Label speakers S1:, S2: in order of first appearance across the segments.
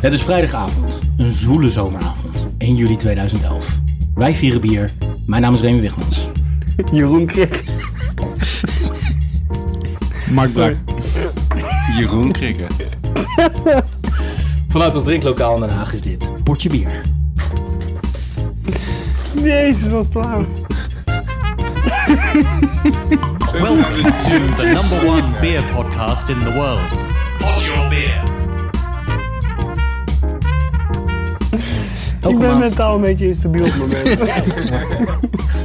S1: Het is vrijdagavond, een zwoele zomeravond, 1 juli 2011. Wij vieren bier. Mijn naam is Remy Wigmans.
S2: Jeroen Krik.
S3: Mark Brak.
S4: Jeroen Krikke.
S1: Vanuit ons drinklokaal in Den Haag is dit Potje Bier.
S2: Jezus, wat flauw.
S5: Welcome to the number one beer podcast in the world. Pod your beer.
S1: Elke
S2: ik ben
S1: maand
S2: mentaal een beetje instabiel op het moment.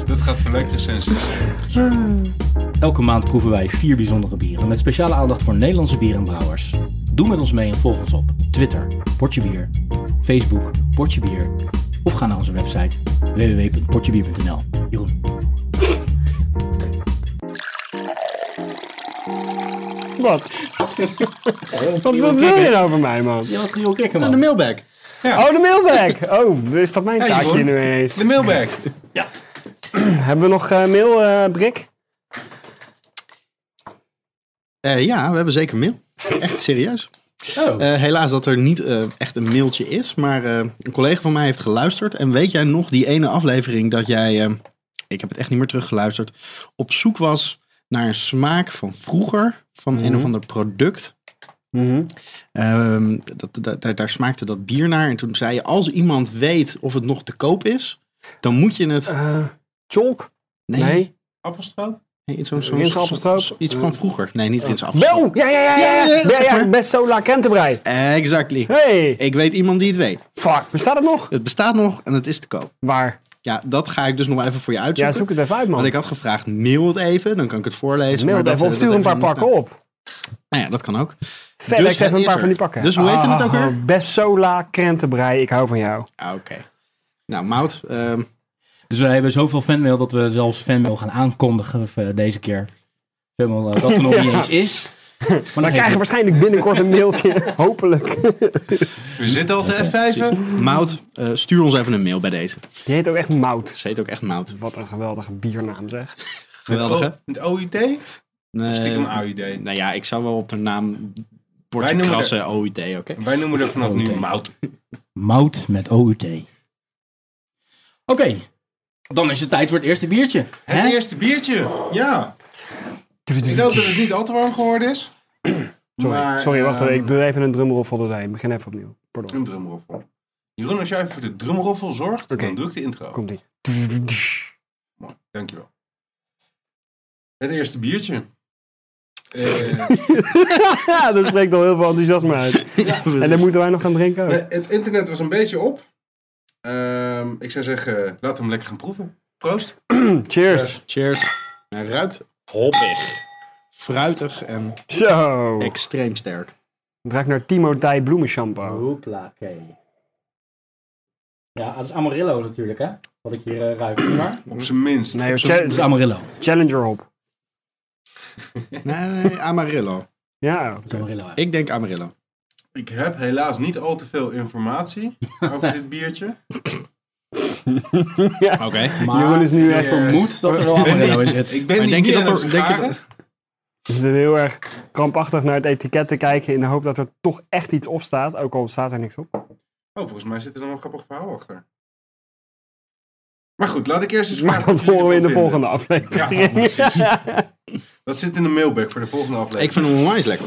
S4: Dat gaat voor leuk recensie.
S1: Elke maand proeven wij vier bijzondere bieren met speciale aandacht voor Nederlandse bieren en brouwers. Doe met ons mee en volg ons op Twitter, Portje Bier, Facebook, Portje Bier of ga naar onze website www.portjebier.nl. Jeroen.
S2: wat? wat wat wil je nou van mij, man?
S1: Ja, wat Jeroen Krikken
S3: En de mailbag.
S2: Oh, de mailbag. Oh, is dat mijn
S4: Hey,
S2: taakje
S4: Jeroen.
S2: nu eens?
S4: De mailbag.
S2: Hebben we nog eh, mail, eh Brik?
S3: Eh, ja, we hebben zeker mail. Echt serieus.
S1: Oh,
S3: Eh, helaas dat er niet eh, echt een mailtje is, maar eh, een collega van mij heeft geluisterd. En weet jij nog die ene aflevering dat jij, eh, ik heb het echt niet meer teruggeluisterd, op zoek was naar een smaak van vroeger, van
S2: Mhm.
S3: een of ander product. Ehm, dat, dat- daar, daar smaakte dat bier naar. En toen zei je, als iemand weet of het nog te koop is, dan moet je het...
S2: Eh, Chalk? Nee.
S4: Appelstroop?
S3: Nee, iets zo'n- zo'n-
S2: Rinsappelstroop? Oh.
S3: zo'n- Iets van vroeger. Nee, niet rinsappelstroop.
S2: Wel! Ja, ja, ja,
S3: Ja,
S2: ja.
S3: ja,
S2: ja,
S3: ja,
S2: ja,
S3: zeg maar.
S2: best Sola Kentebrei.
S3: Exactly.
S2: Hey,
S3: Ik weet iemand die het weet.
S2: fuck. Bestaat het nog?
S3: Het bestaat nog en het is te koop.
S2: Waar?
S3: Ja, dat ga ik dus nog even voor je
S2: Ja,
S3: uitzoeken.
S2: zoek het even uit, man.
S3: Want ik had gevraagd, mail het even, dan kan ik het voorlezen.
S2: Mail het
S3: dat-
S2: even of
S3: dat
S2: stuur een
S3: hebben
S2: paar
S3: we nog
S2: pakken
S3: niet
S2: op.
S3: gedaan. Nou ja, dat kan ook.
S2: FedEx
S3: het
S2: even een
S3: is
S2: paar
S3: er.
S2: van die pakken.
S3: Dus hoe heet het ook
S2: Ah,
S3: weer?
S2: Bessola Krentenbrei, ik hou van jou.
S3: Ah, Oké. Nou, Mout, ehm,
S1: Dus wij hebben zoveel fanmail dat we zelfs fanmail gaan aankondigen eh, deze keer. Fanmail eh, dat er nog niet eens is. Maar dan
S2: We krijgen waarschijnlijk binnenkort een mailtje, hopelijk.
S4: We zitten al te F5.
S3: Mout eh, stuur ons even een mail bij deze.
S2: Die heet ook echt Mout.
S3: Ze heet ook echt Mout.
S2: Wat een geweldige biernaam zeg.
S3: Geweldig, hè?
S4: Oh, Het OIT?
S3: Nee,
S4: Stiekem
S2: Eh,
S4: AUD.
S3: nou ja, ik zou wel op de naam
S4: Wij
S3: Portje
S4: noemen
S3: Krassen OIT, oké?
S4: Wij noemen er vanaf nu
S1: OIT.
S4: Mout.
S1: Mout met OUT. Oké, dan is het tijd voor het eerste biertje.
S4: Het
S1: Hè?
S4: eerste biertje. Ja. Ik hoop dat het niet al te warm geworden is.
S2: Sorry,
S4: Maar,
S2: sorry wacht
S4: ehm,
S2: even. Ik doe even een drumroffel erbij. Ik begin even opnieuw. Pardon.
S4: Een drumroffel. Jeroen, als jij even voor de drumroffel zorgt,
S2: Oké.
S4: dan doe ik de intro.
S2: Komt ie.
S4: Mooi, dankjewel. Het eerste biertje. Eh,
S2: Ja, dat spreekt al heel veel enthousiasme uit. En dan moeten wij nog gaan drinken ook.
S4: nee, het internet was een beetje op. Ehm, ik zou zeggen, laat hem lekker gaan proeven. Proost.
S2: Hm, Cheers.
S3: Cheers. Hij ruikt hoppig, fruitig en
S2: Zo. Het
S3: extreem sterk.
S2: ruikt naar Timothy bloemenshampoo.
S1: Hoepla, oké. Ja, dat is Amarillo natuurlijk, hè? Wat ik hier eh, ruik. niet waar?
S4: Op zijn minst.
S2: Nee,
S4: Op zijn-
S1: Dat is
S2: cha-
S1: Amarillo.
S2: Challenger hop.
S3: Nee, nee, Amarillo.
S2: Ja. oké.
S1: Dat is Amarillo, hè.
S3: Ik denk Amarillo.
S4: Ik heb helaas niet al te veel informatie over dit biertje.
S3: Oké.
S2: Jeroen
S1: Maar
S2: is nu
S1: ik
S2: echt...
S1: vermoed dat er wel Amarillo in zit.
S4: Ik ben
S3: Maar
S4: niet
S3: denk je
S4: meer
S3: dat
S4: aan het
S3: er- denk je
S4: vergaren.
S2: Ze zitten heel erg krampachtig naar het etiket te kijken in de hoop dat er toch echt iets op staat. Ook al staat er niks op.
S4: Oh, volgens mij zit er nog een grappig verhaal achter. Maar goed, laat ik eerst eens
S2: Maar
S4: vragen
S2: dat
S4: wat jullie
S2: horen we in de
S4: ervan
S2: volgende
S4: vinden.
S2: aflevering.
S4: Ja, precies. Dat zit in de mailbag voor de volgende aflevering.
S3: Ik vind hem onwijs lekker.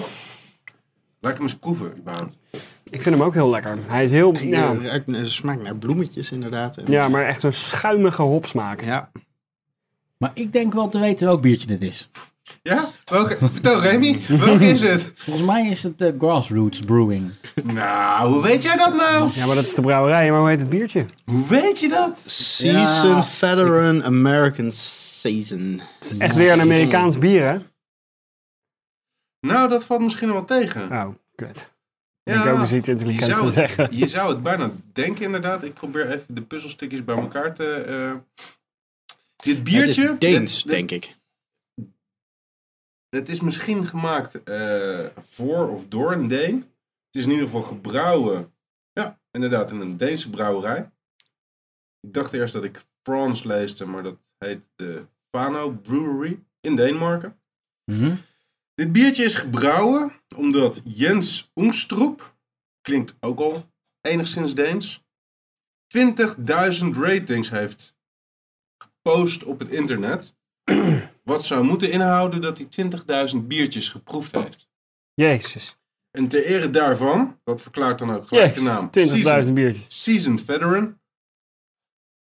S4: Laat ik hem eens proeven, überhaupt.
S2: Ik vind hem ook heel lekker. Hij is heel...
S3: Ja.
S2: Ja,
S3: ruikt, eh, smaakt naar bloemetjes inderdaad. En-
S2: ja maar echt een schuimige hopsmaak.
S3: ja.
S1: Maar ik denk wel te weten welk biertje dit is.
S4: Ja? Welke? Vertel Remy, welke is het?
S1: Volgens mij is het eh, Grassroots Brewing.
S4: Nou, hoe weet jij dat nou?
S2: Ja, maar dat is de brouwerij. Maar hoe heet het biertje?
S4: Hoe weet je dat?
S3: Season
S1: Ja.
S3: Veteran American Season.
S2: Echt weer een Amerikaans bier, hè?
S4: Nou, dat valt misschien wel tegen.
S2: Oh, kut.
S4: Ja.
S2: Ik ook eens iets
S4: Je
S2: intelligents
S4: zou,
S2: te
S4: het,
S2: zeggen.
S4: je zou het bijna denken, inderdaad. Ik probeer even de puzzelstukjes bij elkaar te. eh, dit biertje.
S3: Het is Deens,
S4: dit- dit-
S3: denk ik.
S4: Het is misschien gemaakt eh, voor of door een Deen. Het is in ieder geval gebrouwen. Ja, inderdaad, in een Deense brouwerij. Ik dacht eerst dat ik Frans leesde, maar dat heet de Fano Brewery in Denemarken.
S1: Mhm.
S4: Dit biertje is gebrouwen omdat Jens Ongstroep, klinkt ook al enigszins Deens, 20.000 ratings heeft gepost op het internet. Wat zou moeten inhouden dat hij 20.000 biertjes geproefd heeft.
S2: Jezus.
S4: En ter ere daarvan, dat verklaart dan ook gelijk de naam.
S2: Jezus, 20.000
S4: Seasoned-
S2: biertjes.
S4: Seasoned Veteran.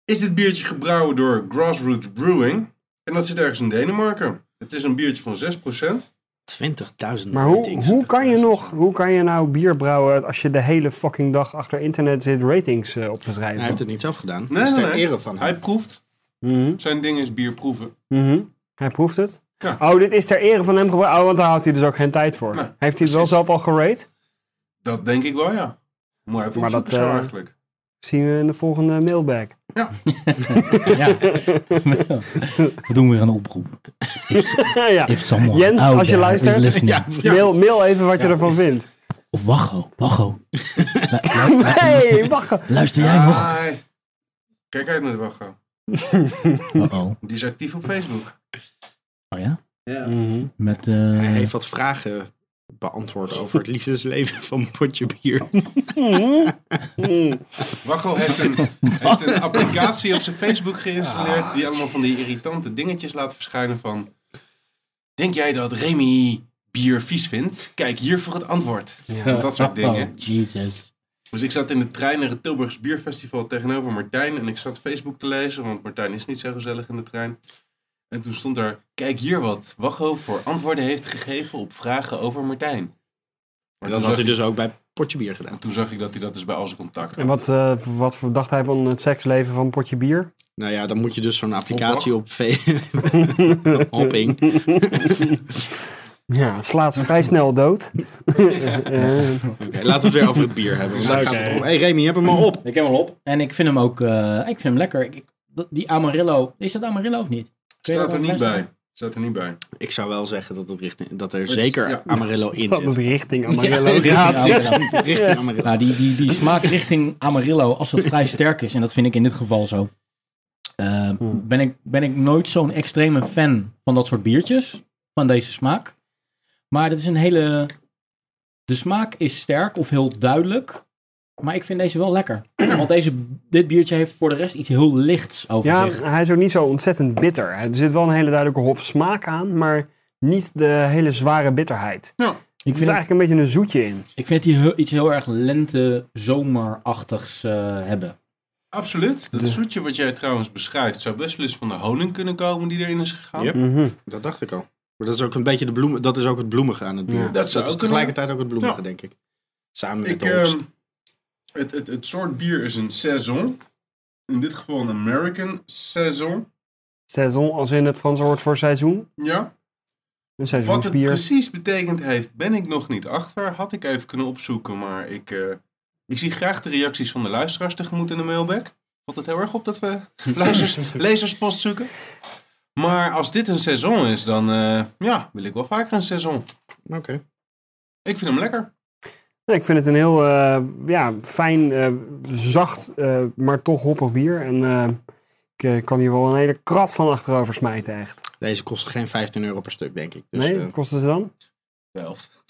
S4: Is dit biertje gebrouwen door Grassroots Brewing. En dat zit ergens in Denemarken. Het is een biertje van 6%.
S3: 20.000
S2: Maar hoe,
S3: ratings.
S2: hoe kan je
S3: Dat is-
S2: nog, hoe kan je nou bier brouwen als je de hele fucking dag achter internet zit ratings eh, op te schrijven?
S3: Hij heeft het niet zelf gedaan.
S4: Nee,
S3: dat is
S4: nee,
S3: ter
S4: nee.
S3: ere van hem.
S4: Hij proeft.
S2: Mhm,
S4: Zijn ding is bier proeven.
S2: mhm. Hij proeft het.
S4: Ja.
S2: Oh, dit is ter ere van hem gebruikt. Oh, want daar houdt hij dus ook geen tijd voor.
S4: Nee,
S2: heeft hij het wel
S4: precies.
S2: zelf al gerate?
S4: Dat denk ik wel, ja. Maar hij
S2: Maar
S4: voelt
S2: dat,
S4: het zo
S2: eh,
S4: eigenlijk.
S2: Zien we in de volgende mailbag.
S1: Ja. We doen weer een oproep.
S2: ja.
S1: If someone
S2: Jens,
S1: out
S2: als je
S1: there
S2: luistert,
S1: is listening.
S3: ja,
S2: Mail, mail even wat je ervan vindt.
S1: Of wacho, wacho. Lu- lu- lu-
S2: Hey, wacht.
S1: Luister jij nog?
S4: Hi. Kijk uit naar de wachtgang.
S1: Uh-oh.
S4: Die is actief op Facebook.
S1: Oh ja?
S4: Ja.
S2: Mhm.
S1: Met, eh,
S3: Hij heeft wat vragen beantwoord over het liefdesleven van Potje Bier.
S2: Mhm. Mhm.
S4: Wachel heeft een, heeft een applicatie op zijn Facebook geïnstalleerd. Die allemaal van die irritante dingetjes laat verschijnen van... Denk jij dat Remy bier vies vindt? Kijk hier voor het antwoord. Dat soort dingen.
S1: Oh, Jesus.
S4: Dus ik zat in de trein naar het Tilburgs Bierfestival tegenover Martijn. En ik zat Facebook te lezen, want Martijn is niet zo gezellig in de trein. En toen stond daar, kijk hier wat Wacho voor antwoorden heeft gegeven op vragen over Martijn. Maar toen,
S3: dat had
S4: zag
S3: hij
S4: ik,
S3: dus ook bij Potje Bier gedaan.
S4: toen zag ik dat hij dat dus bij al zijn contact
S2: En wat, eh, wat dacht hij van het seksleven van een potje bier?
S3: Nou ja, dan moet je dus zo'n applicatie op
S2: ja,
S3: hopping.
S2: het slaat vrij snel dood. Eh,
S3: Oké, laten we het weer over het bier hebben. want Daar gaat het om. hey, Remy, heb hem maar op.
S1: Ik heb hem al op. En ik vind hem ook, eh, ik vind hem lekker. Ik, ik- dat- die Amarillo, is dat Amarillo of niet? Kun je
S4: Staat er
S1: dat
S4: niet
S1: wel
S4: bij. Staat er niet bij.
S3: Ik zou wel zeggen dat, het richting, dat er
S4: Het-
S3: zeker
S4: ja.
S3: Amarillo in
S2: Wat een
S3: zit.
S2: richting Amarillo.
S1: Ja,
S2: Ja,
S1: richting
S2: precies.
S1: Amarillo.
S3: Richting Amarillo.
S1: Nou, die, die, die smaak richting Amarillo, als het vrij sterk is, en dat vind ik in dit geval zo, eh,
S2: Hmm.
S1: ben, ik, ben ik nooit zo'n extreme fan van dat soort biertjes, van deze smaak. Maar dat is een hele... De smaak is sterk of heel duidelijk, maar ik vind deze wel lekker. Want deze, dit biertje heeft voor de rest iets heel lichts over
S2: Ja,
S1: zich.
S2: hij is ook niet zo ontzettend bitter. Er zit wel een hele duidelijke hop smaak aan, maar niet de hele zware bitterheid. Dus
S1: Ik
S2: Er zit
S1: vind,
S2: eigenlijk een beetje een zoetje in.
S1: ik vind het hier heel- iets heel erg lente-zomerachtigs eh, hebben.
S4: Absoluut. Dat
S2: De-
S4: zoetje wat jij trouwens beschrijft zou best wel eens van de honing kunnen komen die erin is gegaan.
S3: Ja.
S2: Mhm.
S3: Dat dacht ik al. Maar dat is ook een beetje de bloemen, dat is ook het bloemige aan het bier.
S2: Ja.
S3: Dat,
S4: Dat zou
S3: is
S4: ook kunnen.
S3: tegelijkertijd ook het bloemige,
S4: Ja.
S3: denk ik. Samen met
S4: Ik,
S3: de hops.
S4: ehm, het, het, het soort bier is een saison. In dit geval een American saison.
S2: Saison, als in het Franse woord voor seizoen.
S4: Ja.
S2: Een
S4: Wat het
S2: seizoensbier.
S4: precies betekend heeft, ben ik nog niet achter. Had ik even kunnen opzoeken, maar ik, eh, ik zie graag de reacties van de luisteraars tegemoet in de mailback. Valt het heel erg op dat we luisteraars, lezerspost zoeken? Maar als dit een seizoen is, dan eh, ja, wil ik wel vaker een seizoen.
S2: ehm,
S3: Oké.
S4: Ik vind hem lekker.
S2: Nee, ik vind het een heel eh, ja, fijn, eh, zacht, eh, maar toch hoppig bier. En eh, ik eh, kan hier wel een hele krat van achterover smijten, echt.
S3: Deze kost geen 15 euro per stuk, denk ik. Dus,
S2: nee,
S3: eh,
S2: wat kostte ze dan?
S4: De helft.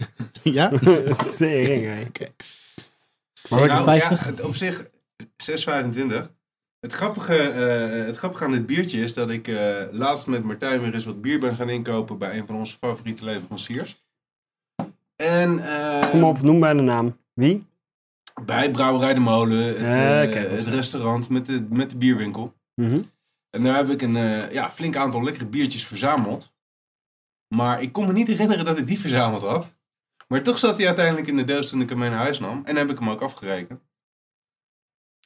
S3: ja?
S2: Tering, hè.
S3: Oké.
S1: Maar wat-
S4: Nou, ja,
S1: 50?
S4: het, op zich 6,25. Het grappige, eh, het grappige aan dit biertje is dat ik eh, laatst met Martijn weer eens wat bier ben gaan inkopen bij een van onze favoriete leveranciers. En, eh,
S2: Kom op, noem bij de naam. Wie?
S4: Bij Brouwerij de Molen, het,
S2: Ja,
S4: eh,
S2: oké, goed.
S4: het restaurant met de, met de bierwinkel.
S2: Mhm.
S4: En daar heb ik een eh, ja, flink aantal lekkere biertjes verzameld. Maar ik kon me niet herinneren dat ik die verzameld had. Maar toch zat hij uiteindelijk in de doos toen ik hem mee naar huis nam. En heb ik hem ook afgerekend.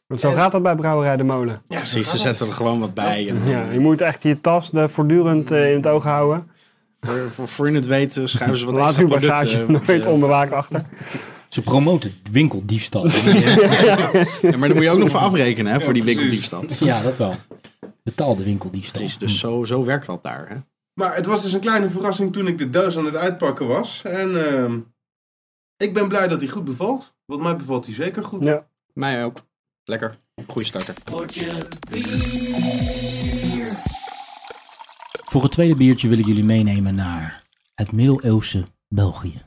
S2: Want zo gaat dat bij Brouwerij de Molen.
S4: Ja,
S3: Precies, ze zetten er gewoon wat bij. En, eh,
S2: Ja, je moet echt je tas eh, voortdurend eh, in het oog houden.
S3: voor, voor, voor in het weten schuiven ze wat
S2: Laat
S3: extra
S2: uw
S3: producten.
S2: bagage
S3: eh,
S2: nooit
S3: eh,
S2: onbewaakt achter.
S1: Ze promoten winkeldiefstal.
S3: ja, maar daar moet je ook nog voor afrekenen, hè, voor die
S4: precies.
S3: winkeldiefstal.
S1: ja, dat wel. Betaalde winkeldiefstal.
S3: Precies, dus zo, zo werkt dat daar. Hè?
S4: Maar het was dus een kleine verrassing toen ik de doos aan het uitpakken was. En ehm, ik ben blij dat hij goed bevalt. Want mij bevalt hij zeker goed.
S2: Ja.
S3: Mij ook. Lekker. Goeie starter.
S1: Hm. Voor het tweede biertje wil ik jullie meenemen naar het middeleeuwse België.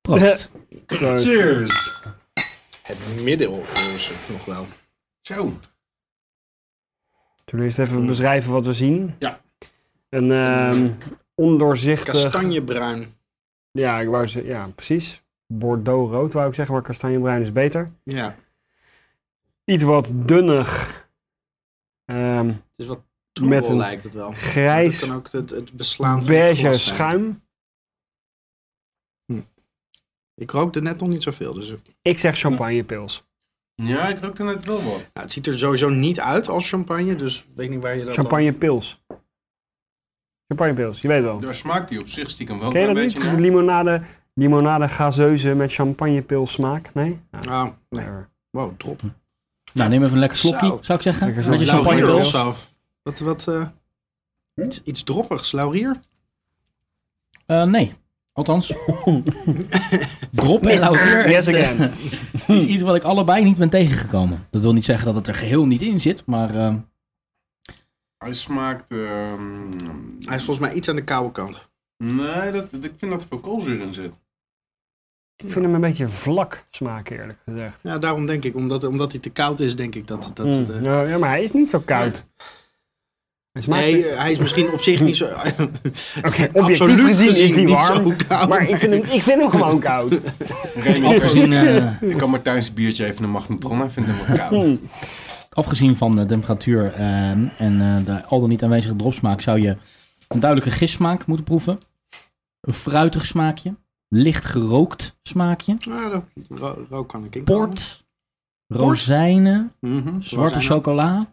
S1: Proost.
S2: Zo.
S4: Cheers! Het middeleeuwse nog wel. Zo.
S2: Zullen we eerst even beschrijven wat we zien?
S4: Ja.
S2: Een ehm, ondoorzichtig...
S3: Kastanjebruin.
S2: Ja, ik wou ze, ja, precies. Bordeaux-rood wou ik zeggen, maar kastanjebruin is beter.
S3: Ja.
S2: Iets wat dunnig. Ehm,
S3: Het is wat troebel
S2: Met een
S3: lijkt het wel.
S2: grijs,
S3: Het kan ook het, het beslaan van het
S2: beige
S3: glas zijn.
S2: schuim.
S3: Ik rookte net nog niet zoveel. Dus, nou,
S2: Ik zeg champagnepils.
S4: Ja, ik rookte net wel wat.
S3: het ziet er sowieso niet uit als champagne, dus ik weet niet waar je dat
S2: Champagnepils. Champagnepils, je weet wel.
S4: Daar smaakt die op zich stiekem wel
S2: Ken je
S4: een
S2: dat
S4: beetje
S2: niet?
S4: naar.
S2: De limonade, limonade gazeuze met champagnepils smaak? Nee? Ja,
S3: dan- Ah, nee.
S2: whatever.
S3: Wow, drop.
S1: Nou, neem even een lekker slokje,
S3: Zo.
S1: zou ik zeggen.
S2: Lekker
S1: Een beetje
S2: slokje.
S1: champagne
S3: Laurier
S2: champagnepils?
S3: of zo. Wat, wat, eh,
S2: Hm?
S3: iets, iets droppigs. Laurier?
S1: Eh, nee, althans. Drop en laurier
S2: Yes
S1: is, eh,
S2: again.
S1: is iets wat ik allebei niet ben tegengekomen. Dat wil niet zeggen dat het er geheel niet in zit, maar eh,
S4: Hij smaakt... ehm,
S3: Hij is volgens mij iets aan de koude kant.
S4: Nee, dat, dat- ik vind dat er veel koolzuur in zit.
S2: Ik vind hem een beetje vlak smaken, eerlijk gezegd.
S3: Ja, daarom denk ik. Omdat, omdat hij te koud is, denk ik dat... dat
S2: Mm.
S3: eh,
S2: Nou, ja, maar hij is niet zo koud. Hij smaakt...
S3: nee, eh, hij is misschien op zich niet zo...
S2: Oké,
S3: absoluut
S2: objectief gezien is
S3: gezien
S2: die
S3: niet
S2: warm.
S3: zo koud.
S2: Maar ik vind, hem, ik vind hem gewoon koud.
S1: afgezien, eh,
S4: ik kan Martijn's biertje even een magnetron. Hij vindt hem wel koud.
S2: Mm.
S1: afgezien van de temperatuur eh, en eh, de al dan niet aanwezige dropsmaak zou je een duidelijke gissmaak moeten proeven. Een fruitig smaakje. Licht gerookt smaakje.
S3: Ah, dat- ro- rook kan ik in
S1: Port. Rozijnen.
S3: komen. Mhm,
S1: Zwarte
S3: rozijnen.
S1: chocola.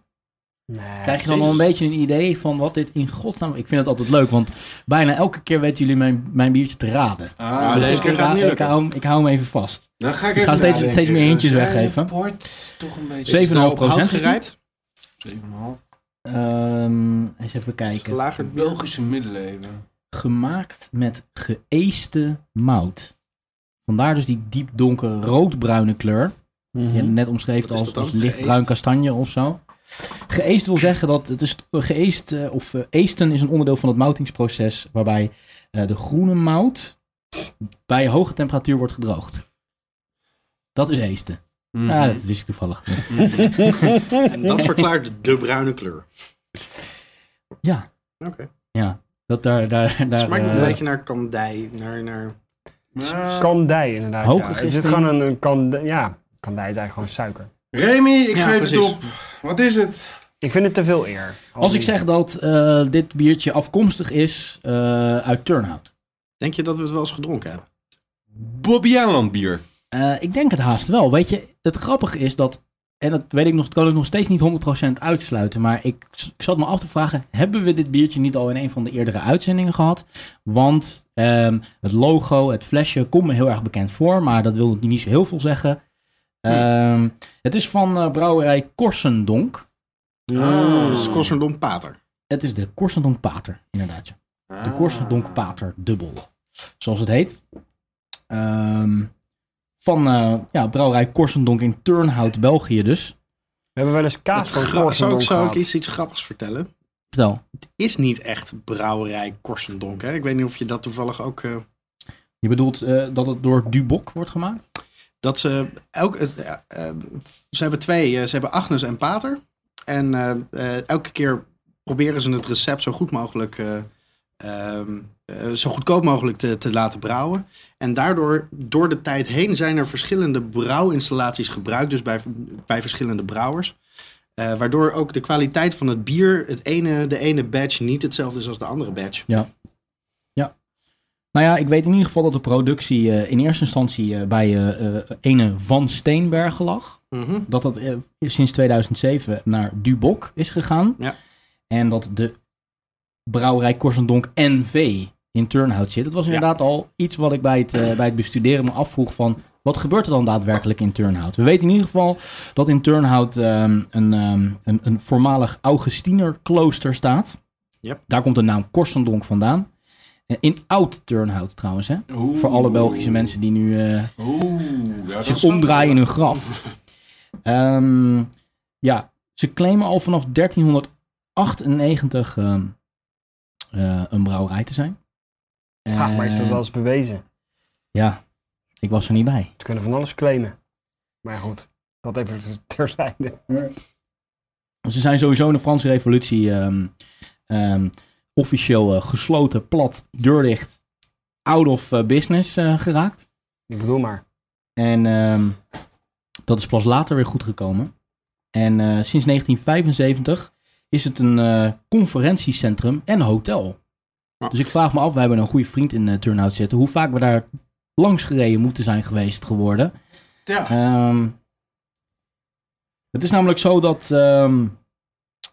S2: Nee.
S1: Krijg je dan al een
S3: Jezus.
S1: beetje een idee van wat dit in godsnaam... Ik vind het altijd leuk, want bijna elke keer weten jullie mijn, mijn biertje te raden. Dus
S4: Ah,
S3: deze
S1: ik,
S3: keer gaat het niet
S1: ik,
S3: lukken.
S1: hou, hem- ik hou hem even vast.
S4: Dan ga ik,
S1: Ik ga
S4: even
S1: steeds,
S4: nadenken.
S1: steeds meer hintjes
S4: Zijn
S1: weggeven.
S4: de port is toch een beetje...
S1: Zeven-
S3: Is het nou
S1: 7,5%
S3: op hout
S1: is die?
S3: gerijpt?
S4: 7,5.
S1: Ehm, eens even
S3: Is
S1: kijken.
S3: gelagerd bier?
S4: Belgische middeleeuwen.
S1: Gemaakt met geëeste mout. Vandaar dus die diep donkere roodbruine kleur. Die je
S2: Mhm.
S1: net omschreef
S3: Wat is
S1: als,
S3: dat dan?
S1: als lichtbruin
S3: Geëest?
S1: kastanje of zo. Geëest wil zeggen dat het is geëest, eh, of eh, eesten is een onderdeel van het moutingsproces waarbij eh, de groene mout bij hoge temperatuur wordt gedroogd. Dat is eesten.
S3: Mhm.
S1: Ja, dat wist ik toevallig.
S3: En dat verklaart de bruine kleur.
S1: Ja,
S3: Oké.
S1: Ja, dat daar, daar,
S3: Het
S1: daar
S3: smaakt nog een
S1: eh,
S3: beetje naar kandij, naar, naar...
S4: Maar-
S2: Kandij, inderdaad.
S1: Hoog
S2: ja. Is
S1: gisteren-
S2: het gewoon een, een kandij? Ja, kandij is eigenlijk gewoon suiker.
S4: Remy, ik
S3: Ja,
S4: geef
S3: precies.
S4: het op. Wat is het?
S2: Ik vind het te veel eer.
S1: Als ik zeg dat eh, dit biertje afkomstig is eh, uit Turnhout.
S3: Denk je dat we het wel eens gedronken hebben?
S4: Bobbiaanland bier.
S1: Eh, ik denk het haast wel. Weet je, het grappige is dat, en dat weet ik nog, dat kan ik nog steeds niet 100% uitsluiten. Maar ik, ik zat me af te vragen, hebben we dit biertje niet al in een van de eerdere uitzendingen gehad? Want ehm, het logo, het flesje, komt me heel erg bekend voor. Maar dat wil niet zo heel veel zeggen. Ehm, het is van eh, brouwerij Korsendonk.
S2: Hmm.
S3: Dat is
S4: Ah.
S3: Kosserdom Pater.
S1: Het is de Korsendonk Pater, inderdaad. ja. De Korseldonk Pater Dubbel, zoals het heet. Ehm, van eh, ja, brouwerij Korsendonk in Turnhout, België dus.
S2: We hebben wel eens
S3: Dat
S2: kaas van
S3: gra- zou
S2: Korsendonk
S3: ik, zou
S2: gehad.
S3: ik iets, iets grappigs vertellen?
S1: Vertel,
S3: Is niet echt brouwerij Korsendonk. Hè? Ik weet niet of je dat toevallig ook... eh,
S1: je bedoelt eh, dat het door Dubok wordt gemaakt?
S3: dat ze elk, eh, eh, ze hebben twee, eh, ze hebben Agnes en Pater. En eh, eh, elke keer proberen ze het recept zo goed mogelijk, eh, ehm, eh, zo goedkoop mogelijk te, te laten brouwen. En daardoor, door de tijd heen, zijn er verschillende brouwinstallaties gebruikt, dus bij, bij verschillende brouwers. Eh, waardoor ook de kwaliteit van het bier, het ene, de ene batch niet hetzelfde is als de andere batch.
S1: Nou ja, ik weet in ieder geval dat de productie eh, in eerste instantie eh, bij eh, eh, ene Van Steenbergen lag. dat dat eh, sinds 2007 naar Dubok is gegaan.
S3: Ja.
S1: En dat de brouwerij Korsendonk NV in Turnhout zit. Dat was inderdaad al iets wat ik bij het, eh, bij het bestuderen me afvroeg van... Wat gebeurt er dan daadwerkelijk in Turnhout? We weten in ieder geval dat in Turnhout ehm, een, ehm, een, een voormalig Augustinerklooster staat.
S3: Yep.
S1: Daar komt de naam Korsendonk vandaan. Eh, In Oud-Turnhout trouwens, hè?
S4: Oeh.
S1: Voor alle Belgische mensen die nu... eh,
S4: Oeh, ja, dat
S1: zich
S4: snap ik
S1: omdraaien in
S4: wel.
S1: hun graf. Ehm, ja, ze claimen al vanaf 1398 ehm, eh, een brouwerij te zijn.
S2: Ja, maar is dat
S1: Eh,
S2: wel eens bewezen?
S1: Ja, ik was er niet bij.
S2: Ze kunnen van alles claimen. Maar goed, dat even terzijde.
S1: Ze zijn sowieso in de Franse Revolutie ehm, ehm, officieel eh, gesloten, plat, deurdicht, out of eh, business eh, geraakt.
S2: Ik bedoel maar.
S1: En ehm, dat is pas later weer goed gekomen. En eh, sinds 1975 is het een eh, conferentiecentrum en hotel.
S3: Ja.
S1: Dus ik vraag me af, wij hebben een goede vriend in eh Turnhout zitten, hoe vaak we daar langs gereden moeten zijn geweest geworden.
S4: Ja.
S1: Ehm, het is namelijk zo dat, ehm,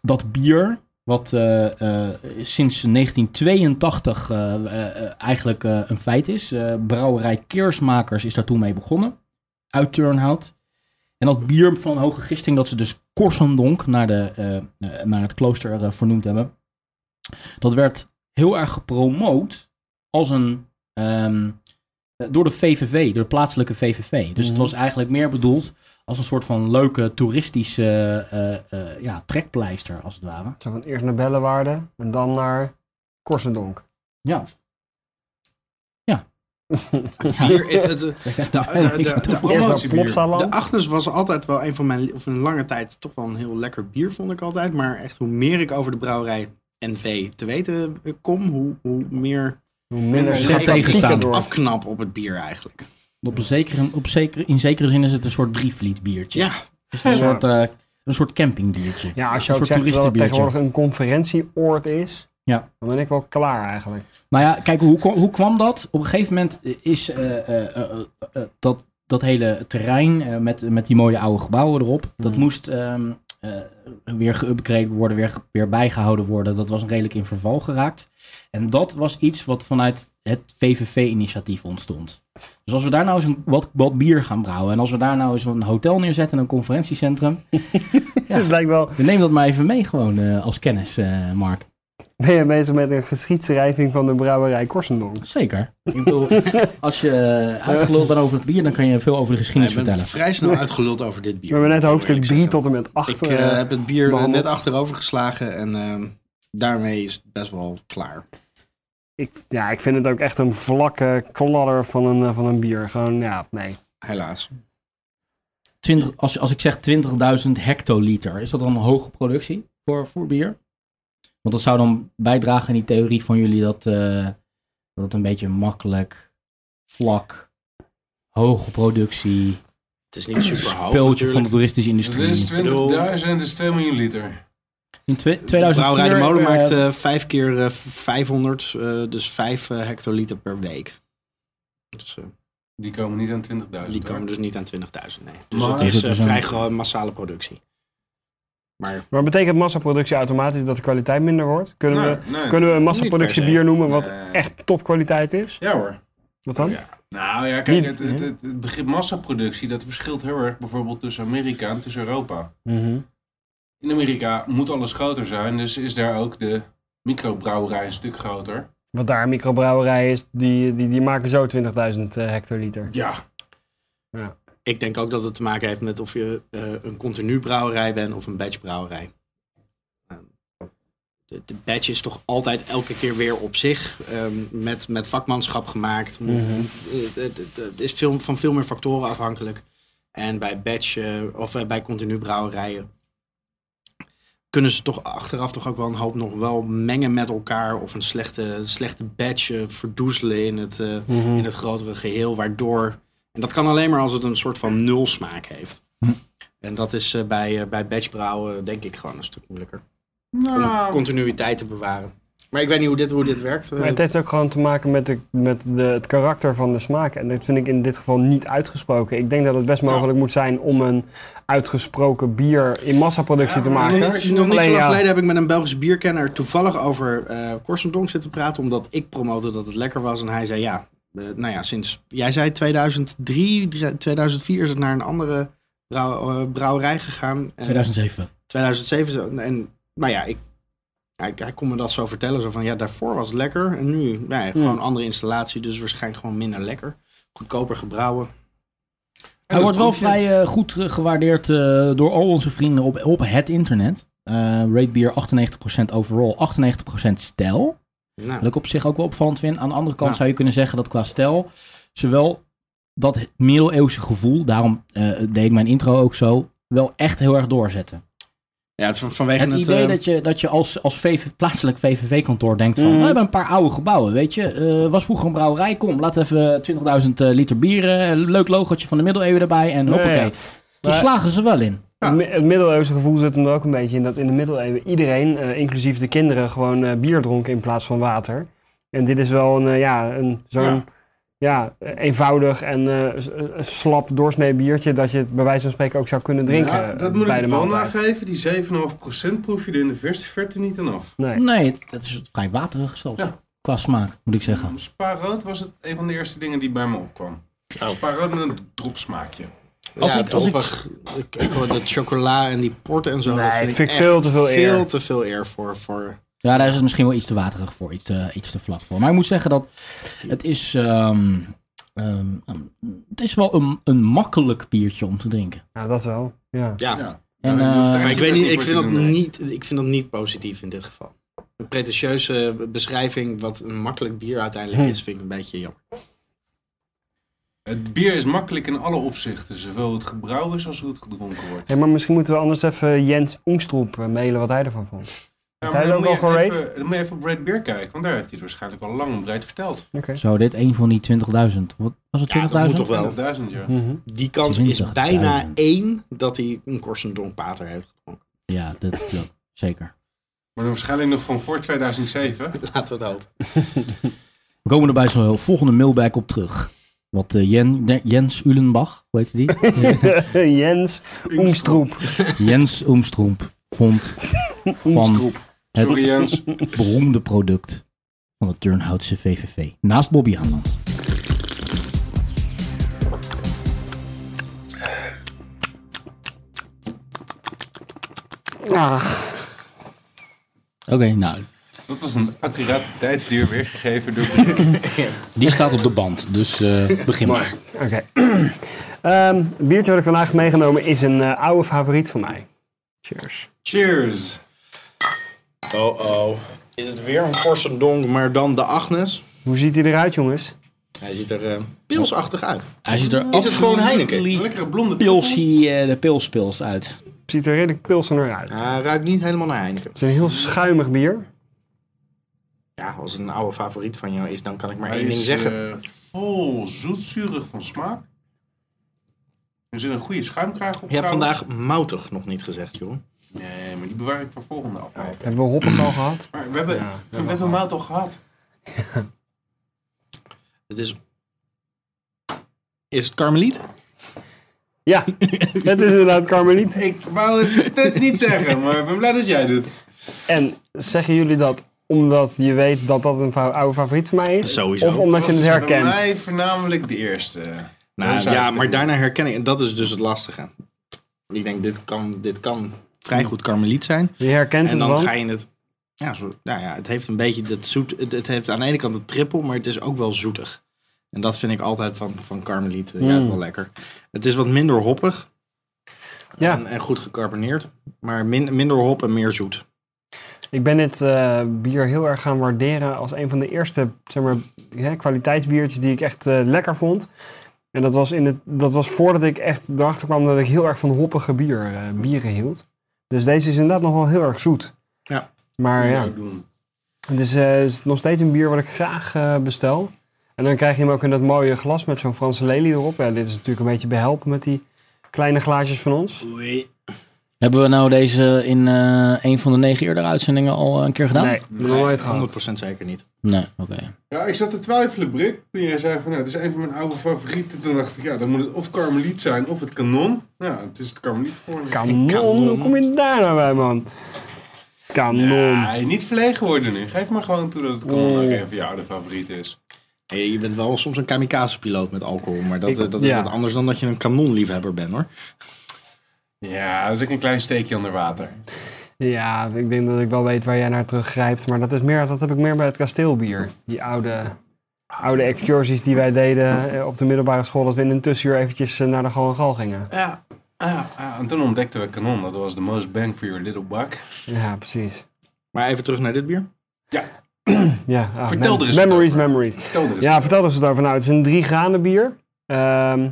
S1: dat bier, wat eh, eh, sinds 1982 eh, eh, eh, eigenlijk eh, een feit is. eh, brouwerij Keersmakers is daar toen mee begonnen, uit Turnhout. En dat bier van hoge gisting, dat ze dus Korsendonk naar, de, eh, eh, naar het klooster eh, vernoemd hebben. Dat werd heel erg gepromoot als een ehm, eh, door de VVV, door de plaatselijke VVV. Dus het
S2: Mhm.
S1: was eigenlijk meer bedoeld als een soort van leuke toeristische eh, eh, ja, trekpleister, als het ware.
S2: Zo van eerst naar Bellewaarde en dan naar Korsendonk.
S1: Ja.
S3: Hier, het, het, de, de,
S1: niks aan toe.
S3: de,
S2: Eerst
S3: de
S2: naar
S4: Promotiebier.
S3: De
S2: Plopsaland.
S3: Agnes was altijd wel een van mijn, of een lange tijd, toch wel een heel lekker bier vond ik altijd. Maar echt hoe meer ik over de brouwerij NV te weten eh, kom, hoe, hoe meer
S2: Hoe
S3: hoe
S2: minder
S1: gaat
S3: meer ik
S1: tegenstaan.
S3: het
S2: door.
S3: afknap op het bier eigenlijk.
S1: Op een zekere, op zekere, in zekere zin is het een soort drievliet biertje.
S3: Ja,
S1: Het is een,
S2: Ja.
S1: soort, eh, een soort campingbiertje.
S2: Ja, als je
S1: Een
S2: ook
S1: soort
S2: zegt dat het
S1: toeristenbiertje.
S2: tegenwoordig een conferentieoord is,
S1: Ja.
S2: dan ben ik wel klaar eigenlijk.
S1: Maar ja, kijk, hoe, ko- hoe kwam dat? Op een gegeven moment is eh, eh, eh, eh, eh, dat, dat hele terrein eh, met, met die mooie oude gebouwen erop, dat
S2: Mhm.
S1: moest ehm, eh, weer geüpgraded worden, weer, ge- weer bijgehouden worden. Dat was redelijk in verval geraakt. En dat was iets wat vanuit het VVV-initiatief ontstond. Dus als we daar nou eens een, wat, wat bier gaan brouwen en als we daar nou eens een hotel neerzetten en een conferentiecentrum. Ja.
S2: Het lijkt wel,
S1: Neem dat maar even mee gewoon eh, als kennis, eh, Mark.
S2: ben je bezig met een geschiedschrijving van de brouwerij Korsendonk.
S1: Zeker. Ik bedoel, als je eh, uitgeluld bent over het bier, dan kan je veel over de geschiedenis
S3: ik ben
S1: vertellen.
S3: vrij snel uitgeluld over dit bier.
S2: We hebben net hoofdstuk 3 tot en met 8.
S3: Ik eh, heb het bier
S2: behandeld.
S3: net achterover geslagen en ehm, daarmee is het best wel klaar.
S2: ik, ja, ik vind het ook echt een vlakke kladder van een, eh, van een bier. Gewoon, ja, nee.
S3: Helaas.
S1: 20, als, als ik zeg 20.000 hectoliter, is dat dan een hoge productie voor, voor bier? Want dat zou dan bijdragen in die theorie van jullie dat, eh, dat het een beetje makkelijk, vlak, hoge productie,
S3: Het is niet super hoog
S1: speeltje van de toeristische
S4: Dus dit is
S1: industrie.
S4: 20.000 is 2 miljoen liter.
S1: In twe-
S3: De
S1: 2004,
S3: brouwerij De Molen
S1: eh,
S3: maakt eh, vijf keer eh, 500, eh, dus vijf eh, hectoliter per week. Dus, eh,
S4: Die komen niet aan 20.000.
S3: Die komen
S4: hoor.
S3: dus niet aan 20.000, nee. Dus
S4: Maar-
S3: dat is
S1: Is het
S3: eh,
S1: dus een-
S3: vrij gewoon massale productie. Maar
S2: Maar betekent massaproductie automatisch dat de kwaliteit minder wordt? Kunnen,
S4: Nee,
S2: we,
S4: nee.
S2: kunnen we een massaproductie
S3: Nou, eh, Niet per
S2: bier
S3: se.
S2: noemen wat
S4: Nee.
S2: echt topkwaliteit is?
S4: Ja hoor.
S2: Wat dan?
S4: Ja. Nou ja, kijk,
S2: Niet,
S4: het, het,
S2: hè?
S4: het, het begrip massaproductie, dat verschilt heel erg bijvoorbeeld tussen Amerika en tussen Europa.
S2: Mhm.
S4: In Amerika moet alles groter zijn, dus is daar ook de microbrouwerij een stuk groter.
S2: Wat daar een microbrouwerij is, die, die, die maken zo 20.000 eh, hectoliter.
S4: Ja,
S3: ik denk ook dat het te maken heeft met of je eh, een continu brouwerij bent of een batchbrouwerij. Ehm, de, de batch is toch altijd elke keer weer op zich, ehm, met, met vakmanschap gemaakt. Moet-
S2: Mhm.
S3: eh, Het het- het is veel, van veel meer factoren afhankelijk. En bij batch, eh, of eh, bij continu brouwerijen, kunnen ze toch achteraf toch ook wel een hoop nog wel mengen met elkaar. Of een slechte, slechte batch eh, verdoezelen in het, eh,
S2: Mhm.
S3: in het grotere geheel, waardoor... En dat kan alleen maar als het een soort van nul smaak heeft.
S1: Hm.
S3: En dat is eh, bij, eh, bij batchbrouwen denk ik gewoon een stuk moeilijker. Om
S4: Nou,
S3: continuïteit te bewaren. Maar ik weet niet hoe dit, hoe dit werkt. eh,
S2: Maar het heeft ook gewoon te maken met, de, met de, het karakter van de smaak. En dat vind ik in dit geval niet uitgesproken. Ik denk dat het best mogelijk moet zijn om een uitgesproken bier in massaproductie te
S3: Nog
S2: maken.
S3: niet- Nog, niet zo
S2: Alleen,
S3: lang
S2: ja.
S3: geleden heb ik met een Belgische bierkenner toevallig over eh Korsendonk zitten praten. Omdat ik promote dat het lekker was. En hij zei ja, eh, nou ja, sinds jij zei 2003, drie- 2004 is het naar een andere brouw- eh, brouwerij gegaan. En
S1: 2007.
S3: 2007. zo- En, maar ja, ik, hij, hij kon me dat zo vertellen. Zo van ja, daarvoor was het lekker. En nu nou ja, gewoon
S2: Mm.
S3: andere installatie. Dus waarschijnlijk gewoon minder lekker. Goedkoper gebrouwen.
S1: Hij wordt wel vrij eh, goed eh, gewaardeerd eh, door al onze vrienden op, op het internet. Eh rate beer 98% overall, 98% stijl.
S3: Nou,
S1: Wat ik op zich ook wel opvallend vind. Aan de andere kant
S3: Ja.
S1: zou je kunnen zeggen dat qua stijl zowel dat middeleeuwse gevoel, daarom eh, deed ik mijn intro ook zo, wel echt heel erg doorzetten.
S3: Ja, het is van- vanwege
S1: Het,
S3: het...
S1: idee
S3: eh,
S1: dat je, dat je als, als VV, plaatselijk VVV-kantoor denkt van...
S2: Mhm.
S1: We hebben een paar oude gebouwen, weet je. Eh, was vroeger een brouwerij, kom, laat even 20.000 eh, liter bieren. een Leuk logotje van de middeleeuwen erbij en
S2: Ja,
S1: hoppakee.
S2: ja.
S1: Daar
S2: Maar-
S1: slagen ze wel in.
S2: Het mi- Het middeleeuwse gevoel zit hem er ook een beetje in dat in de middeleeuwen iedereen, eh, inclusief de kinderen, gewoon eh, bier dronken in plaats van water. En dit is wel een, eh, ja, een, zo'n
S4: Ja.
S2: ja. eh, eenvoudig en eh, s- eh, slap doorsnee biertje dat je het bij wijze van spreken ook zou kunnen drinken
S4: Ja,
S2: eh,
S4: dat moet ik
S2: bij
S4: het
S2: de
S4: wel
S2: maaltijd.
S4: nageven. Die 7,5% proef je er in de verste verte niet aan af.
S2: Nee.
S1: Nee, het- dat is vrij waterig zelfs.
S4: Ja.
S1: Qua smaak, moet ik zeggen.
S4: Spa rood was het een van de eerste dingen die bij me opkwam. Spa rood met een dropsmaakje.
S1: Als
S3: Oh. ja,
S1: ik- als ik-
S3: hoppig. ik... ik hoor dat chocola en die port en zo.
S2: Nee,
S3: dat vind ik,
S2: vind ik
S3: echt
S2: veel te veel
S3: Veel
S2: eer.
S3: te veel eer voor... voor
S1: Ja, daar is het misschien wel iets te waterig voor, iets te, iets te vlak voor. Maar ik moet zeggen dat het is, ehm, ehm, ehm, het is wel een, een makkelijk biertje om te drinken.
S2: Ja, dat wel. Ja.
S3: ja.
S4: Ja.
S1: En,
S4: Nou, je hoeft
S1: eh,
S4: daar
S3: Maar ik
S4: je
S3: weet
S4: best
S3: niet, ik
S4: voor
S3: vind,
S4: te
S3: dat
S4: doen, nee.
S3: niet, ik vind dat niet positief in dit geval. Een pretentieuze beschrijving wat een makkelijk bier uiteindelijk is, vind ik een beetje jammer.
S4: Het bier is makkelijk in alle opzichten. Zowel het gebrouwen is als hoe het gedronken wordt.
S2: Hey, maar misschien moeten we anders even Jens Ongstroep eh, mailen wat hij ervan vond.
S4: Ja,
S2: hij
S4: maar dan,
S2: het ook
S4: moet
S2: al
S4: je
S2: gerate?
S4: even, dan moet je even op Red Beer kijken, want daar heeft hij het waarschijnlijk al lang en breed verteld.
S2: Oké.
S1: Zo, dit een van die 20.000. Wat was het 20.000?
S3: Ja, dat moet toch wel.
S4: 20.000 ja.
S2: Mhm.
S3: Die kans is
S1: 20.000.
S3: bijna één dat hij een Korsendonk water heeft gedronken.
S1: Ja, dat klopt. Zeker.
S4: Maar dan waarschijnlijk nog van voor 2007.
S3: Laten we het hopen.
S1: We komen er bij zo'n volgende mailback op terug. Wat eh, Jen, de- Jens Ulenbach, hoe heet die?
S2: Jens Ongstroep.
S1: Jens Oemstroemp vond van
S2: Oemstroep.
S1: het
S4: Sorry Jens.
S1: beroemde product van de Turnhoutse VVV. Naast Bobby Aanland.
S2: Ah,
S1: Oké, nou,
S4: Dat was een accurate tijdsduur weergegeven door Brit.
S1: die staat op de band, dus eh, begin maar.
S2: Oké. Ehm, het biertje wat ik vandaag heb meegenomen is een eh, oude favoriet van mij. Cheers.
S4: Cheers.
S3: Oh oh. Is het weer een Korsendonk, maar dan de Agnes?
S2: Hoe ziet hij eruit, jongens?
S3: Hij ziet er eh, pilsachtig uit.
S1: Hij ziet er
S3: Is het gewoon Heineken?
S4: Een lekkere blonde
S1: pilsie de pilspils uit.
S2: Ziet er redelijk pilsener uit. Het
S3: Hij ruikt niet helemaal naar Heineken.
S2: is een heel schuimig bier.
S3: Ja, als het een oude favoriet van jou is, dan kan ik maar
S4: Hij
S3: één ding
S4: is,
S3: zeggen.
S4: eh, vol zoetzurig van smaak. Er zit een goede schuimkraag op
S3: Je hebt
S4: trouwens.
S3: vandaag moutig nog niet gezegd, joh.
S4: Nee, maar die bewaar ik voor volgende aflevering.
S2: Hebben we hoppig al gehad?
S4: Maar we hebben, we hebben een maand al gehad.
S3: Het is... Is het karmeliet?
S2: Ja, het is inderdaad karmeliet.
S4: Ik wou het net niet zeggen, maar ik ben blij dat jij doet.
S2: En zeggen jullie dat omdat je weet dat dat een fa- oude favoriet van mij is?
S3: Sowieso.
S2: Of omdat je het
S4: was
S2: herkent?
S4: Bij mij voornamelijk de eerste. Dan
S3: Nou,
S4: zou
S3: ja,
S4: ik-
S3: maar daarna herken ik... En dat is dus het lastige. Ik denk, dit kan, dit kan vrij goed karmeliet zijn.
S2: Je herkent
S3: En
S2: het,
S3: dan
S2: want...
S3: ga je het... Ja, zo, nou ja, het heeft een beetje dat zoet... Het, het heeft aan de ene kant een trippel, maar het is ook wel zoetig. En dat vind ik altijd van, van karmeliet eh, juist
S2: Mm.
S3: wel lekker. Het is wat minder hoppig en,
S2: Ja,
S3: en goed gecarboneerd. Maar min, minder hop en meer zoet.
S2: ik ben dit eh, bier heel erg gaan waarderen als een van de eerste zeg maar, hè, kwaliteitsbiertjes die ik echt eh, lekker vond. En dat was, in het, dat was voordat ik echt erachter kwam dat ik heel erg van hoppige bier, eh, bieren hield. Dus deze is inderdaad nog wel heel erg zoet.
S3: Ja.
S2: Maar ja.
S4: ook doen.
S2: Het is, eh, is nog steeds een bier wat ik graag eh, bestel. En dan krijg je hem ook in dat mooie glas met zo'n Franse lelie erop. Ja, dit is natuurlijk een beetje behelpen met die kleine glaasjes van ons.
S1: Hebben we nou deze in eh, een van de negen eerder uitzendingen al eh, een keer gedaan?
S2: Nee, nooit gehad.
S3: 100% Eh, zeker niet.
S1: Nee, oké.
S4: Ja, ik zat te twijfelen, Brik. Toen jij zei van, nou, het is een van mijn oude favorieten. Toen dacht ik, ja, dan moet het of Karmeliet zijn of het kanon. Ja, het is het Karmeliet geworden.
S2: Kanon, hoe kom je daar nou bij, man? Kanon.
S4: Nee, niet verlegen worden nu. Geef maar gewoon toe dat het kanon ook een van je oude favorieten is.
S3: Hey, je bent wel soms een kamikaze-piloot met alcohol, maar dat,
S2: Ik-
S3: eh, dat is
S2: ja.
S3: wat anders dan dat je een kanonliefhebber bent hoor.
S4: Ja, dat is ook een klein steekje onder water.
S2: Ja, ik denk dat ik wel weet waar jij naar teruggrijpt. Maar dat, is meer, dat heb ik meer bij het kasteelbier. Die oude, oude excursies die wij deden eh, op de middelbare school. Dat we in een tussenuur eventjes eh, naar de Gal en Gal gingen.
S4: Ja. Ah, ah, en toen ontdekten we kanon. Dat was de most bang for your little buck.
S2: Ja, precies.
S3: Maar even terug naar dit bier.
S4: Ja,
S2: Ja, ah,
S4: Vertel er eens wat
S2: Memories,
S4: over.
S2: memories.
S3: Dus-
S4: vertel er eens.
S2: Ja, vertel eens wat daarvan uit. Het is een drie granen bier. Ehm,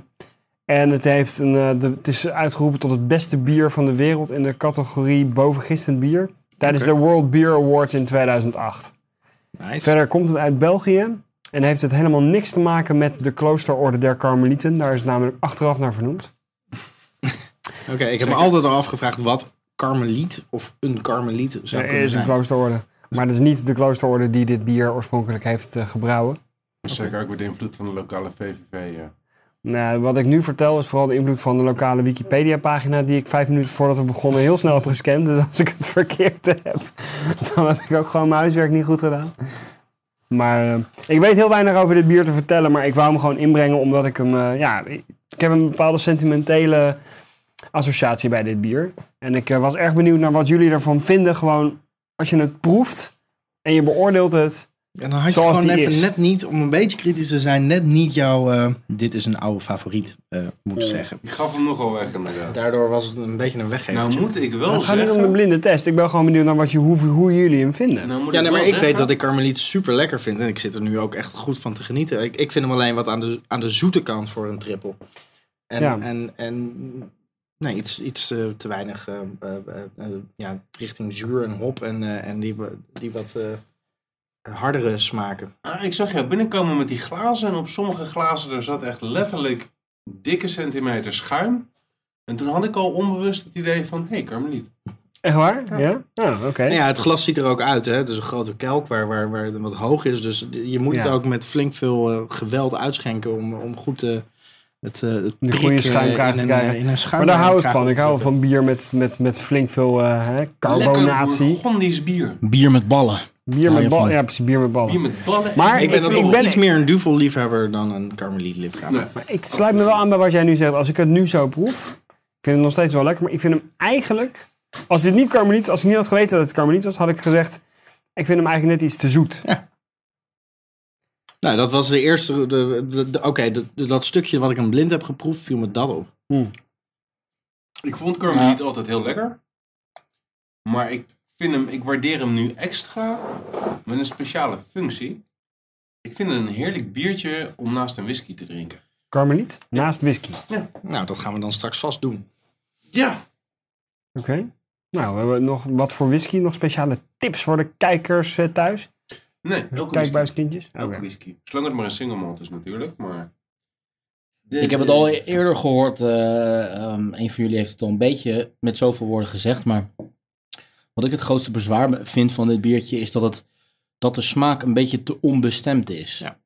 S2: en het, heeft een, eh, de- het is uitgeroepen tot het beste bier van de wereld in de categorie bovengistend bier. Tijdens
S4: Oké.
S2: de World Beer Awards in 2008.
S3: Nice.
S2: Verder komt het uit België. En heeft het helemaal niks te maken met de kloosterorde der Karmelieten. Daar is het namelijk achteraf naar vernoemd.
S3: Oké, ik heb me altijd al afgevraagd wat karmeliet of een karmeliet zou
S2: Er
S3: kunnen
S2: is een
S3: zijn.
S2: kloosterorde. Maar dat is niet de kloosterorde die dit bier oorspronkelijk heeft eh, gebrouwen.
S4: Dat is zeker ook met invloed van de lokale VVV. Ja.
S2: Nou, wat ik nu vertel is vooral de invloed van de lokale Wikipedia-pagina, die ik vijf minuten voordat we begonnen heel snel heb gescand. Dus als ik het verkeerd heb, dan heb ik ook gewoon mijn huiswerk niet goed gedaan. Maar eh, ik weet heel weinig over dit bier te vertellen, maar ik wou hem gewoon inbrengen omdat ik hem, eh, ja, ik heb een bepaalde sentimentele associatie bij dit bier. En ik eh, was erg benieuwd naar wat jullie ervan vinden. Gewoon als je het proeft en je beoordeelt het.
S3: En dan had je
S2: Zoals
S3: gewoon
S2: die
S3: even
S2: is.
S3: net niet, om een beetje kritisch te zijn, net niet jouw eh, dit is een oude favoriet eh, moeten zeggen.
S4: Ik gaf hem nogal weg inderdaad.
S3: Daardoor was het een beetje een weggever.
S4: Nou moet ik wel
S2: Het gaat niet om de
S4: zeggen...
S2: blinde test. Ik ben gewoon benieuwd naar wat je, hoe, hoe jullie hem vinden.
S4: nou moet
S3: ja, nee, maar
S4: wel
S3: ik weet
S4: zeggen-
S3: dat ik karmeliet super lekker vind. En ik zit er nu ook echt goed van te genieten. Ik, ik vind hem alleen wat aan de, aan de zoete kant voor een triple. En,
S2: Ja.
S3: en, en nee, iets, iets eh, te weinig eh, eh, eh, eh, ja, richting zuur en hop. En, eh, en die, wa- die wat eh, hardere smaken.
S4: Ah, ik zag jou binnenkomen met die glazen. En op sommige glazen daar zat echt letterlijk dikke centimeter schuim. En toen had ik al onbewust het idee van... Hé, hey, Carmeliet.
S2: Echt waar? Ja? Oh, oké.
S3: Nou ja, het glas ziet er ook uit. Hè? Het is een grote kelk waar, waar, waar het wat hoog is. Dus je moet het
S2: Ja.
S3: ook met flink veel eh, geweld uitschenken om, om goed eh, het, eh het
S2: goede
S3: prik, eh,
S2: schuimkraag
S3: in
S2: te
S3: een,
S2: krijgen.
S3: eh, in een
S2: Maar daar hou ik
S3: schuimkraag
S2: van.
S3: op
S2: Ik
S3: te
S2: hou
S3: zetten.
S2: van bier met, met, met flink veel eh, hè,
S4: Lekker
S2: carbonatie.
S4: Burgondisch bier.
S1: Bier met ballen.
S2: Bier
S1: Hou
S2: met
S1: je
S2: bal.
S1: van.
S2: Ja, precies, bier met
S4: Bier
S2: ballen.
S4: met ballen.
S2: Maar
S3: Ik ben
S2: ik
S3: dan
S2: vind-
S3: toch
S2: ik ben-
S3: iets meer een duvel-liefhebber dan een karmeliet-liefhebber.
S4: Nee.
S2: Maar ik sluit me wel aan bij wat jij nu zegt. Als ik het nu zo proef, ik vind het nog steeds wel lekker. Maar ik vind hem eigenlijk, als dit niet karmeliet, als ik niet had geweten dat het karmeliet was, had ik gezegd, ik vind hem eigenlijk net iets te zoet.
S3: Nou, dat was de eerste... de- de- de- Oké, de- de- dat stukje wat ik een blind heb geproefd, viel me dat op.
S4: Ik vond Carmeliet altijd heel lekker. Maar ik vind hem, ik waardeer hem nu extra met een speciale functie. Ik vind het een heerlijk biertje om naast een whisky te drinken.
S2: Karmeliet naast whisky.
S3: Nou, dat gaan we dan straks vast doen.
S4: Ja,
S2: Oké. Nou, we hebben nog wat voor whisky, nog speciale tips voor de kijkers eh, thuis.
S4: nee, elke whisky.
S2: Kijkbuiskindjes.
S4: Elke
S2: Oké.
S4: whisky. Zolang het maar een single malt is natuurlijk, maar... De-
S1: Ik heb het
S4: de-
S1: al eerder gehoord. eh, ehm, een van jullie heeft het al een beetje met zoveel woorden gezegd. Maar wat ik het grootste bezwaar me- vind van dit biertje is dat, het, dat de smaak een beetje te onbestemd is.
S3: Ja.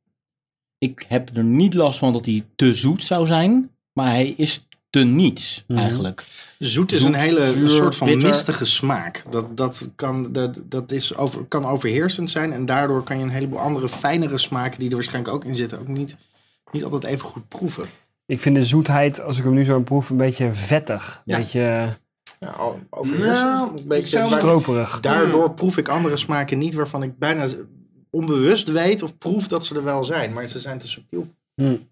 S1: Ik heb er niet last van dat hij te zoet zou zijn. Maar hij is te niets
S2: Mhm.
S1: eigenlijk.
S3: Zoet is
S1: Zoet,
S3: een hele
S1: zuur,
S3: soort van
S1: bitter.
S3: mistige smaak. Dat, dat, kan, dat, dat is over, kan overheersend zijn. En daardoor kan je een heleboel andere fijnere smaken die er waarschijnlijk ook in zitten, ook niet, niet altijd even goed proeven.
S2: Ik vind de zoetheid, als ik hem nu zo proef, een beetje vettig.
S3: Ja.
S2: Een beetje
S3: Ja,
S4: overheersend.
S3: een
S4: ik zou-
S3: beetje, waar-
S2: stroperig.
S3: Nou, daardoor proef ik andere smaken niet waarvan ik bijna onbewust weet of proef dat ze er wel zijn. Maar ze zijn te subtiel.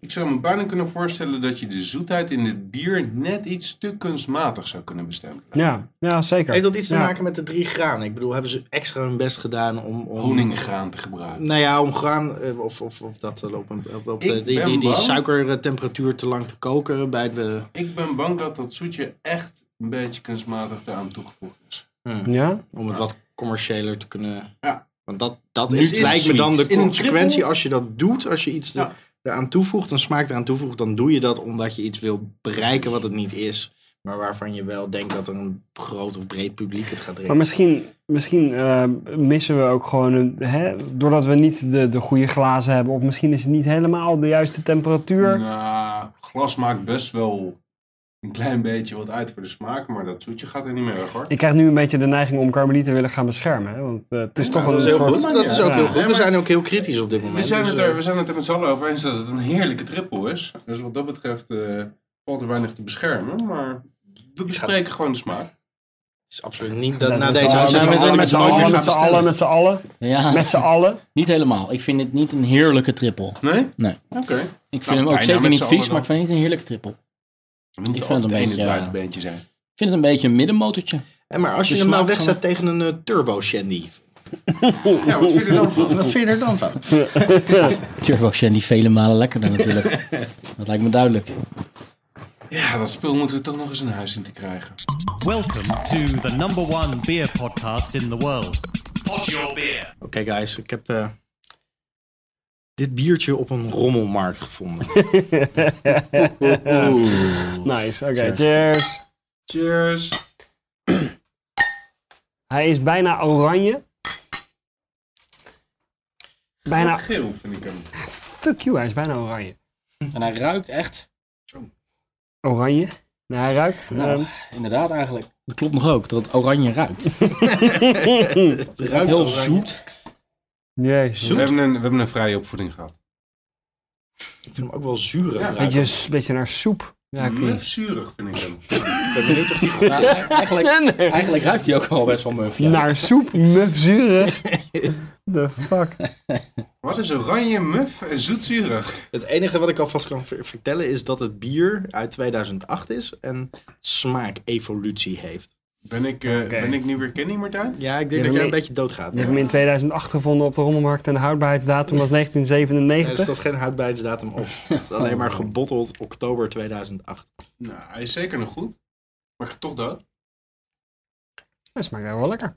S4: Ik zou me bijna kunnen voorstellen dat je de zoetheid in dit bier net iets te kunstmatig zou kunnen bestempelen.
S2: Ja, ja zeker.
S3: Heeft dat iets te
S2: Ja.
S3: maken met de drie granen? Ik bedoel, hebben ze extra hun best gedaan om... om
S4: Honinggraan te gebruiken.
S3: Nou ja, om graan eh, of, of, of dat eh, op, een- op, op de,
S4: Ik
S3: die,
S4: ben
S3: die, die
S4: bang.
S3: suikertemperatuur te lang te koken bij de...
S4: Ik ben bang dat dat zoetje echt een beetje kunstmatig eraan toegevoegd is.
S2: Ja?
S3: Om het wat commerciëler te kunnen...
S4: Ja.
S3: Want dat, dat
S4: Nu
S3: is,
S4: is
S3: lijkt me
S4: sweet.
S3: dan de
S4: In een
S3: consequentie
S4: trippel?
S3: als je dat doet. Als je iets er-
S4: Ja.
S3: eraan toevoegt, een smaak eraan toevoegt, dan doe je dat omdat je iets wil bereiken wat het niet is. Maar waarvan je wel denkt dat er een groot of breed publiek het gaat
S2: Maar
S3: drinken.
S2: misschien, misschien eh, missen we ook gewoon, een, hè, doordat we niet de, de goede glazen hebben. Of misschien is het niet helemaal de juiste temperatuur.
S3: Mm.
S4: Nou, glas maakt best wel een klein beetje wat uit voor de smaak, maar dat zoetje gaat er niet meer weg hoor.
S2: Ik krijg nu een beetje de neiging om Carmeliet te willen gaan beschermen. Hè? Want eh, het is toch wel
S3: dat
S2: een
S3: is heel
S2: soort...
S3: goed. Dat is ook
S2: Ja.
S3: heel goed.
S4: Ja,
S3: We
S4: maar-
S3: zijn ook heel kritisch op dit moment.
S4: We zijn,
S3: dus,
S4: het
S3: eh,
S4: er, we zijn het er met z'n allen over eens dat het een heerlijke triple is. Dus wat dat betreft eh, valt er weinig te beschermen, maar we bespreken gewoon de smaak.
S3: Het is absoluut niet
S2: We
S3: dat
S2: zijn
S3: na
S2: met z'n
S3: deze
S2: allen-
S3: uitzending dat ik
S2: met
S3: het
S2: z'n
S3: nooit meer
S2: allen,
S3: ga
S2: met z'n
S3: bestellen.
S2: allen, met z'n allen,
S1: Ja,
S2: met z'n allen.
S1: niet helemaal. Ik vind het niet een heerlijke trippel.
S4: Nee?
S1: Nee.
S4: Oké.
S1: Ik vind
S4: Nou,
S1: hem ook
S4: bijna
S1: zeker
S4: met
S1: niet
S4: z'n
S1: vies,
S4: allen dan.
S1: maar ik vind het niet een heerlijke trippel.
S4: We moeten
S1: Ik vind het
S4: altijd
S1: een
S4: één
S1: beetje,
S4: het
S1: eh,
S4: buitenbeentje zijn.
S1: Ik vind het een beetje een middenmotortje.
S3: En Eh, maar als je
S1: De
S3: hem nou
S1: smaak
S3: wegzet tegen een eh, turbo shandy.
S4: Ja, wat vind je er dan van?
S3: Wat vind je er dan van?
S1: Turbo Shandy vele malen lekkerder natuurlijk. dat lijkt me duidelijk.
S4: Ja, dat spul moeten we toch nog eens een huis in te krijgen.
S5: Welcome to the number one beer podcast in the world. Pod Your Beer.
S3: Oké guys, ik heb eh, dit biertje op een rommelmarkt gevonden.
S2: Nice, oké, cheers.
S4: Cheers.
S2: Hij is bijna oranje. Bijna,
S4: Geel vind ik hem.
S2: fuck you, hij is bijna oranje.
S1: En hij ruikt echt.
S2: Oranje? Nou, hij ruikt.
S1: Nou,
S2: ehm,
S1: inderdaad eigenlijk. Dat klopt nog ook, dat het oranje ruikt.
S3: Het ruikt
S1: Heel
S3: oranje.
S1: zoet.
S2: ehm, jezus.
S4: We
S3: Zoet?
S4: hebben, een, we hebben een vrije opvoeding gehad.
S3: Ik vind hem ook wel zuurig.
S4: Ja,
S3: ruiken.
S2: Beetje, een beetje naar soep ruikt hij.
S4: Mufzuurig vind ik hem.
S1: Ik ben benieuwd of die goed is. Eigenlijk,
S2: Ja, nee.
S1: eigenlijk ruikt hij ook wel best wel muf. ja.
S2: Naar soep, mufzurig. The fuck.
S4: Wat is oranje, muf en zoetzuurig?
S3: Het enige wat ik alvast kan ver- vertellen is dat het bier uit 2008 is en smaakevolutie heeft.
S4: Ben ik, eh,
S2: Oké.
S4: ben ik nu weer Kenny, Martijn?
S3: Ja, ik denk
S2: Ja,
S3: dat jij
S2: nee.
S3: een beetje doodgaat.
S2: Je hebt
S3: hè?
S2: hem in 2008 gevonden op de rommelmarkt en de houdbaarheidsdatum was
S3: Er
S2: 1997.
S3: staat geen houdbaarheidsdatum op. Het is alleen maar gebotteld oktober 2008.
S4: Nou, hij is zeker nog goed. Maar ik ga toch dood.
S2: Dat smaakt wel lekker.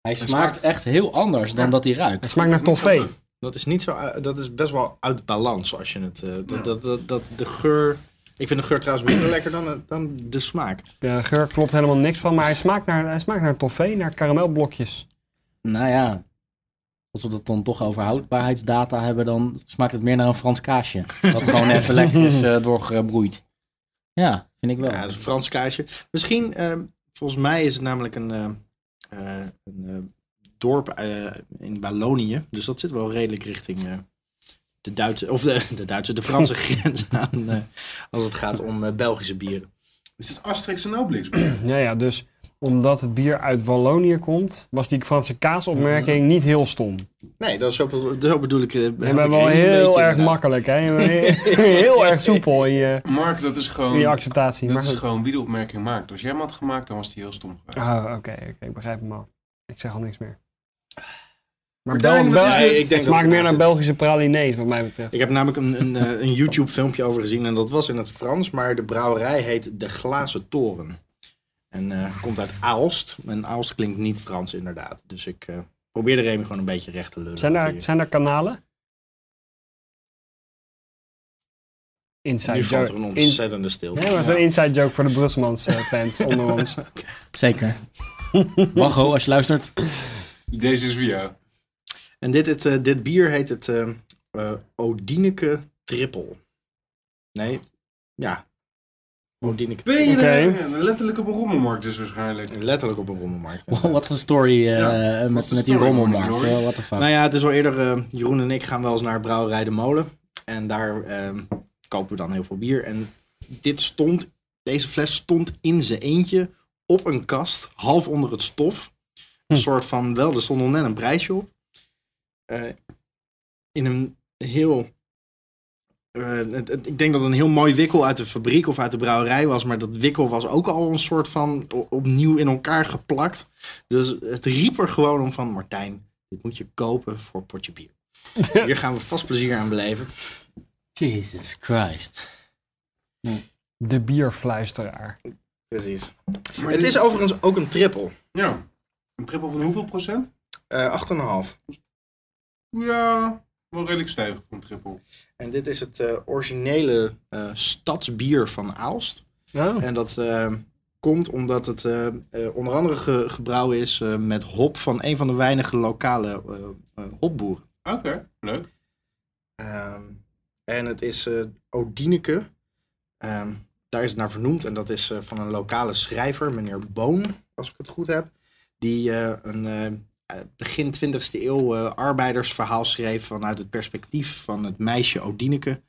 S1: Hij
S4: Het
S1: smaakt
S4: smaakt-
S1: echt heel anders dan
S4: Ja.
S1: dat hij
S2: Het
S1: ruikt.
S2: smaakt naar toffee.
S3: Dat is, niet zo, u- dat is best wel uit balans als je het. eh, dat,
S4: Ja.
S3: dat, dat, dat de geur. Ik vind de geur trouwens minder lekker dan, eh, dan de smaak.
S2: De geur klopt helemaal niks van, maar hij smaakt naar, hij smaakt naar toffee, naar karamelblokjes.
S1: Nou ja, als we dat dan toch over houdbaarheidsdata hebben, dan smaakt het meer naar een Frans kaasje. Dat gewoon even lekker is eh, doorgebroeid. Ja, vind ik wel.
S3: Ja, dat is een Frans kaasje. Misschien, eh, volgens mij is het namelijk een, eh, eh, een eh, dorp eh, in Wallonië. Dus dat zit wel redelijk richting eh, de Duitse, of de, de Duitse, de Franse grens aan. eh, als het gaat om eh, Belgische bieren.
S4: Is het Asterix en Obelix?
S2: Ja, ja, dus omdat het bier uit Wallonië komt, was die Franse kaasopmerking niet heel stom.
S3: Nee, dat is zo, be- zo bedoel ik. eh, heb
S2: Je bent
S3: ik
S2: wel
S3: een
S2: heel
S3: beetje
S2: erg
S3: inderdaad.
S2: makkelijk, hè? Je bent heel erg soepel in je,
S4: Mark, dat is
S2: in je
S4: gewoon,
S2: acceptatie.
S4: dat
S2: Maar
S4: is
S2: goed.
S4: gewoon wie de opmerking maakt. Als jij hem had gemaakt, dan was hij heel stom geweest.
S2: Ah, oké, oké, ik begrijp hem al. Ik zeg al niks meer. Maar
S4: Martijn,
S2: Bel-
S4: wat
S2: Bel-
S4: is dit?
S3: Nee, ik denk
S2: het
S3: dat
S2: smaakt
S3: het
S2: meer naar
S3: naast
S2: Belgische pralinees, wat mij betreft.
S3: Ik heb namelijk een, een, eh, een YouTube-filmpje over gezien en dat was in het Frans, maar de brouwerij heet De Glazen Toren. En eh, komt uit Aalst. En Aalst klinkt niet Frans, inderdaad. Dus ik eh probeerde Remy gewoon een beetje recht te lullen.
S2: Zijn
S3: Want
S2: daar,
S3: die-
S2: zijn daar kanalen?
S3: nu
S2: Inside
S3: valt er een
S2: joke. In-
S3: ontzettende stilte.
S2: Nee, maar dat is een inside joke voor de Brusselmans eh, fans onder ons.
S1: Zeker. Wago, als je luistert.
S4: Deze is voor jou.
S3: En dit, het, eh, dit bier heet het eh eh, Odineke Triple. Nee, ja. Odineke
S4: Ben
S3: Triple.
S4: je
S2: Oké.
S4: er? Ja, letterlijk op een rommelmarkt dus waarschijnlijk.
S3: Letterlijk op een rommelmarkt.
S1: Wow, wat een story eh,
S4: Ja,
S1: met,
S4: wat een
S1: met die
S4: story,
S1: rommelmarkt.
S4: hoor.
S1: Wat what the fuck.
S3: Nou ja, het is al eerder. eh, Jeroen en ik gaan wel eens naar Brouwerij de Molen. En daar ehm, kopen we dan heel veel bier. En dit stond, deze fles stond in zijn eentje op een kast, half onder het stof. Een soort van, wel, er stond nog net een prijsje op. Eh, in een heel. eh, het- het- ik denk dat het een heel mooi wikkel uit de fabriek of uit de brouwerij was. Maar dat wikkel was ook al een soort van o- opnieuw in elkaar geplakt. Dus het riep er gewoon om van Martijn. Dit moet je kopen voor een potje bier. Hier gaan we vast plezier aan beleven.
S1: Jesus Christ.
S2: De bierfluisteraar.
S3: Precies.
S4: Maar
S3: Het
S4: dit-
S3: is overigens ook een triple.
S4: Ja. Een triple van hoeveel procent?
S3: Eh 8,5.
S4: Ja, wel redelijk stevig voor een triple.
S3: En dit is het eh, originele eh, stadsbier van Aalst.
S2: Oh.
S3: En dat eh, komt omdat het eh, eh, onder andere ge- gebrouwen is eh, met hop van een van de weinige lokale eh, eh, hopboeren.
S4: Oké, leuk.
S3: Ehm, en het is eh Odineke. Ehm, daar is het naar vernoemd. En dat is eh, van een lokale schrijver, meneer Boon, als ik het goed heb. Die eh, een eh, eh, begin 20e eeuw eh, arbeidersverhaal schreef vanuit het perspectief van het meisje Odineke.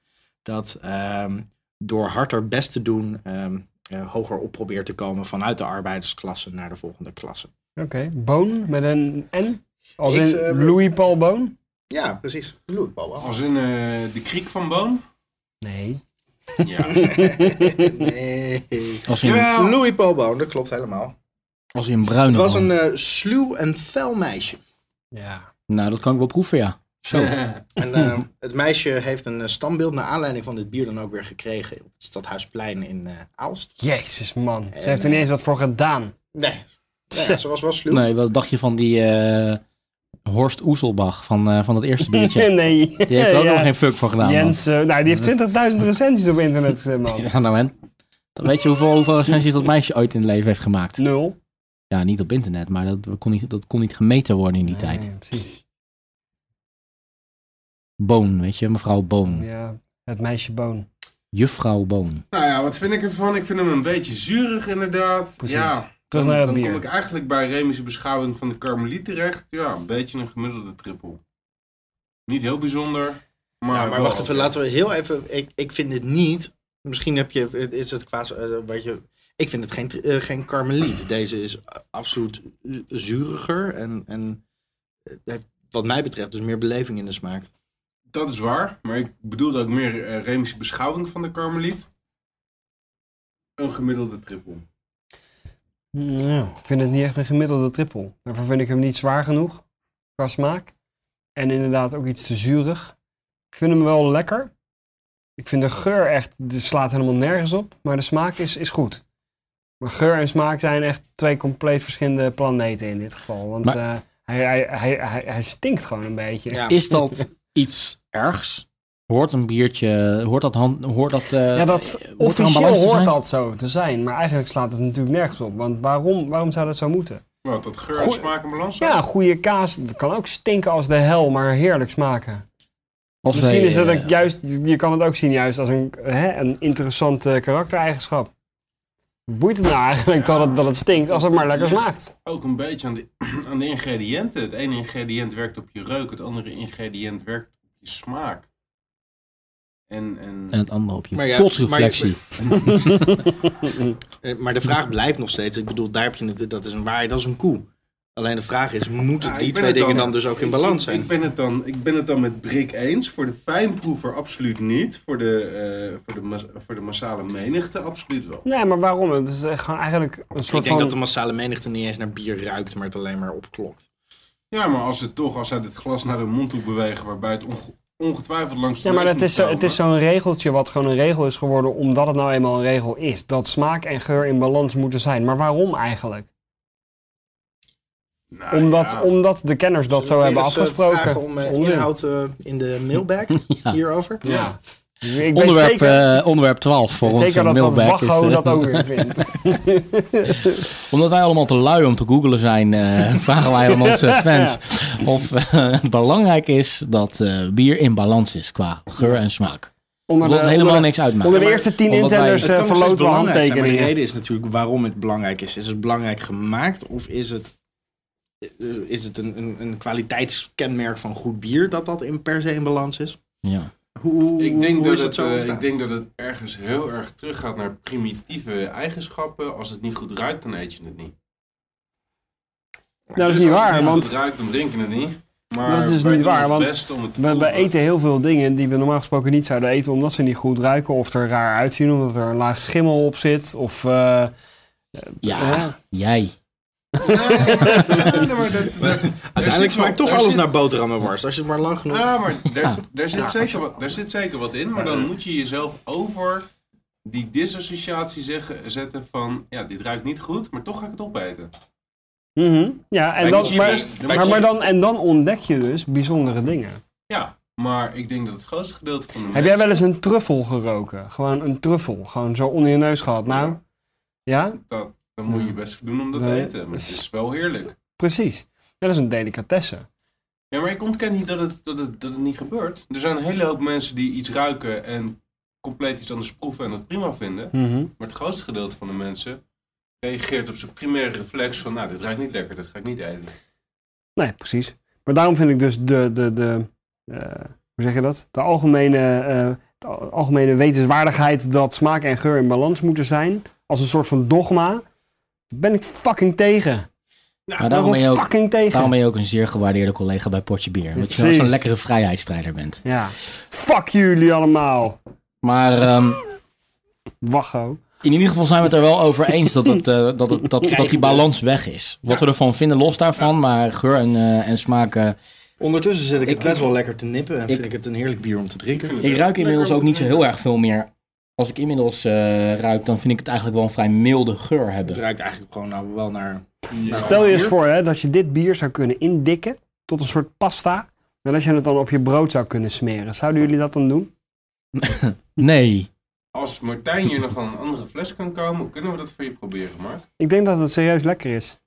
S3: Dat ehm, door hard haar best te doen, ehm, eh, hoger op probeert te komen vanuit de arbeidersklasse naar de volgende klasse.
S2: Oké, Boon met een N. Als
S3: Ik,
S2: in
S3: eh,
S2: Louis Paul Boon?
S3: Ja, precies. Bloed,
S4: Als in eh, de kriek van Boon?
S2: Nee.
S4: Ja.
S3: Nee.
S1: Als in,
S4: Jawel.
S3: Oh. Louis Paul Boon, dat klopt helemaal.
S1: Als in bruine
S3: Het was
S1: man.
S3: een eh, sluw en fel meisje.
S2: Ja.
S1: Nou, dat kan ik wel proeven, ja.
S3: En eh, het meisje heeft een eh, standbeeld naar aanleiding van dit bier dan ook weer gekregen op het Stadhuisplein in eh, Aalst.
S2: Jezus, man. Ze
S3: En,
S2: heeft er niet eens wat voor gedaan.
S3: Nee, Nou ja, ze was wel sluw.
S1: Nee, wat dacht je van die eh, Horst Oeselbach van, eh, van dat eerste biertje?
S2: nee.
S1: Die heeft er ook
S2: Ja.
S1: nog geen fuck voor gedaan. man.
S2: Jens, eh, nou, die heeft 20.000 recensies op internet gezet, man.
S1: Ja, nou en? Dan weet je hoeveel, hoeveel recensies dat meisje ooit in het leven heeft gemaakt.
S2: Nul.
S1: Ja, niet op internet, maar dat kon niet, dat kon niet gemeten worden in die tijd.
S2: Nee, precies.
S1: Boon, weet je, mevrouw Boon.
S2: Ja, het meisje Boon.
S1: Juffrouw Boon.
S4: Nou ja, wat vind ik ervan? Ik vind hem een beetje zuurig inderdaad.
S2: Precies.
S4: Ja,
S2: Terug
S4: dan,
S2: naar het
S4: dan kom ik
S2: bier.
S4: eigenlijk bij Remische beschouwing van de Carmeliet terecht. Ja, een beetje een gemiddelde triple. Niet heel bijzonder, maar...
S3: Ja,
S4: wel
S3: maar wacht even,
S4: oké.
S3: laten we heel even. Ik, ik vind dit niet. Misschien heb je, is het qua. eh, wat je, ik vind het geen, tri- eh, geen karmeliet. Deze is absoluut eh, zuriger en, en eh, heeft, wat mij betreft, dus meer beleving in de smaak.
S4: Dat is waar, maar ik bedoelde ook meer eh, Remische beschouwing van de Carmeliet. Een gemiddelde triple.
S1: Mm,
S2: Ja, ik vind het niet echt een gemiddelde triple. Daarvoor vind ik hem niet zwaar genoeg qua smaak. En inderdaad ook iets te zuurig. Ik vind hem wel lekker. Ik vind de geur echt, die slaat helemaal nergens op. Maar de smaak is, is goed. Maar geur en smaak zijn echt twee compleet verschillende planeten in dit geval. Want
S1: Maar-
S2: eh, hij, hij, hij, hij, hij stinkt gewoon een beetje.
S3: Ja.
S1: Is dat iets ergs? Hoort een biertje, hoort dat, hand, hoort dat, eh,
S2: Ja, dat
S1: er een
S2: officieel
S1: balans te zijn?
S2: hoort dat zo te zijn, maar eigenlijk slaat het natuurlijk nergens op. Want waarom, waarom zou dat zo moeten?
S4: Wat, dat geur en
S2: Goeie-
S4: smaak en balans?
S2: Ja, goede kaas dat kan ook stinken als de hel, maar heerlijk smaken.
S1: Als
S2: Misschien
S1: wij,
S2: is dat
S1: eh,
S2: ook juist, je kan het ook zien juist als een, hè, een interessante karaktereigenschap. Boeit het nou eigenlijk dat het, dat het stinkt als het maar lekker smaakt?
S4: Ook een beetje aan de, aan de ingrediënten. Het ene ingrediënt werkt op je reuk, het andere ingrediënt werkt op je smaak. En, en,
S1: En het andere op je
S3: Maar ja,
S1: kotsreflectie.
S3: Eh, Maar de vraag blijft nog steeds. Ik bedoel, daar heb je het, dat is een waai, dat is een koe. Alleen de vraag is, moeten
S4: Ja,
S3: die
S4: ik ben
S3: twee
S4: het
S3: dingen dan dus ook in
S4: ik-
S3: balans
S4: ik- Ik
S3: zijn?
S4: ben het dan, ik ben het dan met Brik eens. Voor de fijnproever absoluut niet. Voor de, eh, voor de, mas- voor de massale menigte absoluut wel.
S2: Nee, maar waarom? Het is eh, gewoon eigenlijk een
S3: Ik
S2: soort
S3: denk
S2: van...
S3: dat de massale menigte niet eens naar bier ruikt, maar het alleen maar opklokt.
S4: Ja, maar als ze toch, als zij dit glas naar hun mond toe bewegen, waarbij het onge- ongetwijfeld langs de
S2: Ja, maar
S4: neus
S2: het
S4: moet
S2: is, zo, het
S4: komen.
S2: is zo'n regeltje wat gewoon een regel is geworden omdat het nou eenmaal een regel is. Dat smaak en geur in balans moeten zijn. Maar waarom eigenlijk?
S4: Nou,
S2: Omdat,
S4: ja.
S2: omdat de kenners dat zo hebben
S3: Hier is, eh,
S2: afgesproken.
S3: vragen om
S2: Dat
S3: eh,
S2: is onzin.
S3: inhoud eh, in de mailbag hierover.
S2: Ja. Ik weet
S1: Onderwerp,
S2: zeker,
S1: eh, onderwerp 12 voor
S2: weet
S1: ons
S2: zeker
S1: eh,
S2: dat, dat
S1: mailbag is...
S2: Wacho
S1: eh,
S2: dat ook weer vindt.
S1: Omdat wij allemaal te lui om te googlen zijn, eh, vragen wij aan onze fans of eh, het belangrijk is dat eh, bier in balans is qua geur en smaak.
S2: Onder
S1: Dat
S2: de,
S1: helemaal
S2: onder de-
S1: niks uitmaakt.
S2: onder de
S1: Ja, maar-
S2: eerste tien
S1: omdat wij-
S2: inzenders
S1: Het
S2: eh,
S3: nog steeds
S2: verloten we
S3: dus belangrijk zijn, maar
S2: handtekeningen.
S3: de reden is natuurlijk waarom het belangrijk is. Is het belangrijk gemaakt of is het, eh, is het een, een, een kwaliteitskenmerk van goed bier dat dat in per se in balans is?
S1: Ja.
S3: Hoe,
S4: Ik denk,
S3: hoe
S4: dat
S3: is
S4: het, eh,
S3: ontstaan?
S4: ik denk dat het ergens heel erg teruggaat naar primitieve eigenschappen. Als het niet goed ruikt, dan eet je het niet.
S2: Nou, dat is
S4: Dus
S2: niet
S4: als
S2: waar,
S4: het niet goed
S2: want
S4: ruikt, dan drinken we het niet. Maar
S2: Dat is dus
S4: wij
S2: niet
S4: doen
S2: waar,
S4: ons
S2: want
S4: best om het te
S2: we, we
S4: proeven.
S2: eten heel veel dingen die we normaal gesproken niet zouden eten. Omdat ze niet goed ruiken of er raar uitzien. Omdat er een laag schimmel op zit. Of... eh,
S1: ja, jij.
S4: Nee, maar dat- dat- daar zit
S3: Uiteindelijk smaakt
S4: wel-
S3: toch
S4: daar
S3: alles
S4: zit-
S3: naar boterham en worst. Als je het maar lang genoeg...
S4: Ja, maar daar, daar, zit zeker wat, daar zit zeker wat in. Maar dan moet je jezelf over die disassociatie zeggen, zetten van... Ja, dit ruikt niet goed, maar toch ga ik het opeten.
S2: mhm. Ja, en
S3: Wij
S2: dan,
S3: moeten
S2: maar,
S4: best-
S2: maar, maar dan, en dan ontdek je dus bijzondere dingen.
S4: Ja, maar ik denk dat het grootste gedeelte van de
S2: Heb jij
S4: mensen-
S2: wel eens een truffel geroken? Gewoon een truffel. Gewoon zo onder je neus gehad. Nou, ja,
S4: Dat, dan moet je je best voor doen om dat
S2: Nee.
S4: te eten. Maar het is wel heerlijk.
S2: precies. Ja, dat is een delicatesse.
S4: Ja, maar ik ontken niet dat het, dat, het, dat het niet gebeurt. Er zijn een hele hoop mensen die iets ruiken en compleet iets anders proeven en dat prima vinden.
S2: Mhm.
S4: Maar het grootste gedeelte van de mensen reageert op zijn primaire reflex van... Nou, dit ruikt niet lekker, dat ga ik niet eten.
S2: Nee, precies. Maar daarom vind ik dus de, de, de eh, hoe zeg je dat? De algemene, eh, de al- algemene wetenswaardigheid dat smaak en geur in balans moeten zijn. Als een soort van dogma. daar ben ik fucking tegen.
S1: Maar daarom
S2: Daarom
S1: ben, je ook,
S2: fucking tegen.
S1: daarom ben je ook een zeer gewaardeerde collega bij Potje Bier. Omdat je wel
S2: Precies.
S1: zo'n lekkere vrijheidsstrijder bent.
S2: Ja. Fuck jullie allemaal.
S1: Maar ehm,
S2: Wacho.
S1: In ieder geval zijn we het er wel over eens dat, het, eh, dat, het, dat, dat die
S3: Krijgen we.
S1: balans weg is. Wat we ervan vinden, los daarvan. Maar geur en, eh, en smaak. eh,
S3: Ondertussen zit ik het
S1: Ik-
S3: best wel lekker te nippen en
S1: ik-
S3: vind ik het een heerlijk bier om te
S4: Ik
S3: drinken.
S4: vind het
S1: ik
S4: echt
S1: ruik inmiddels
S4: lekker
S1: ook
S4: om
S1: niet
S4: te
S1: zo
S4: drinken.
S1: heel erg veel meer. Als ik inmiddels eh, ruik, dan vind ik het eigenlijk wel een vrij milde geur
S3: Het
S1: hebben.
S3: ruikt eigenlijk gewoon nou wel naar...
S4: Ja.
S3: naar-
S2: Stel je eens
S4: bier?
S2: voor hè, dat je dit bier zou kunnen indikken tot een soort pasta. En dat je het dan op je brood zou kunnen smeren. Zouden jullie dat dan doen?
S1: Nee.
S4: Als Martijn hier nog aan een andere fles kan komen, kunnen we dat voor je proberen, maar.
S2: Ik denk dat het serieus lekker is.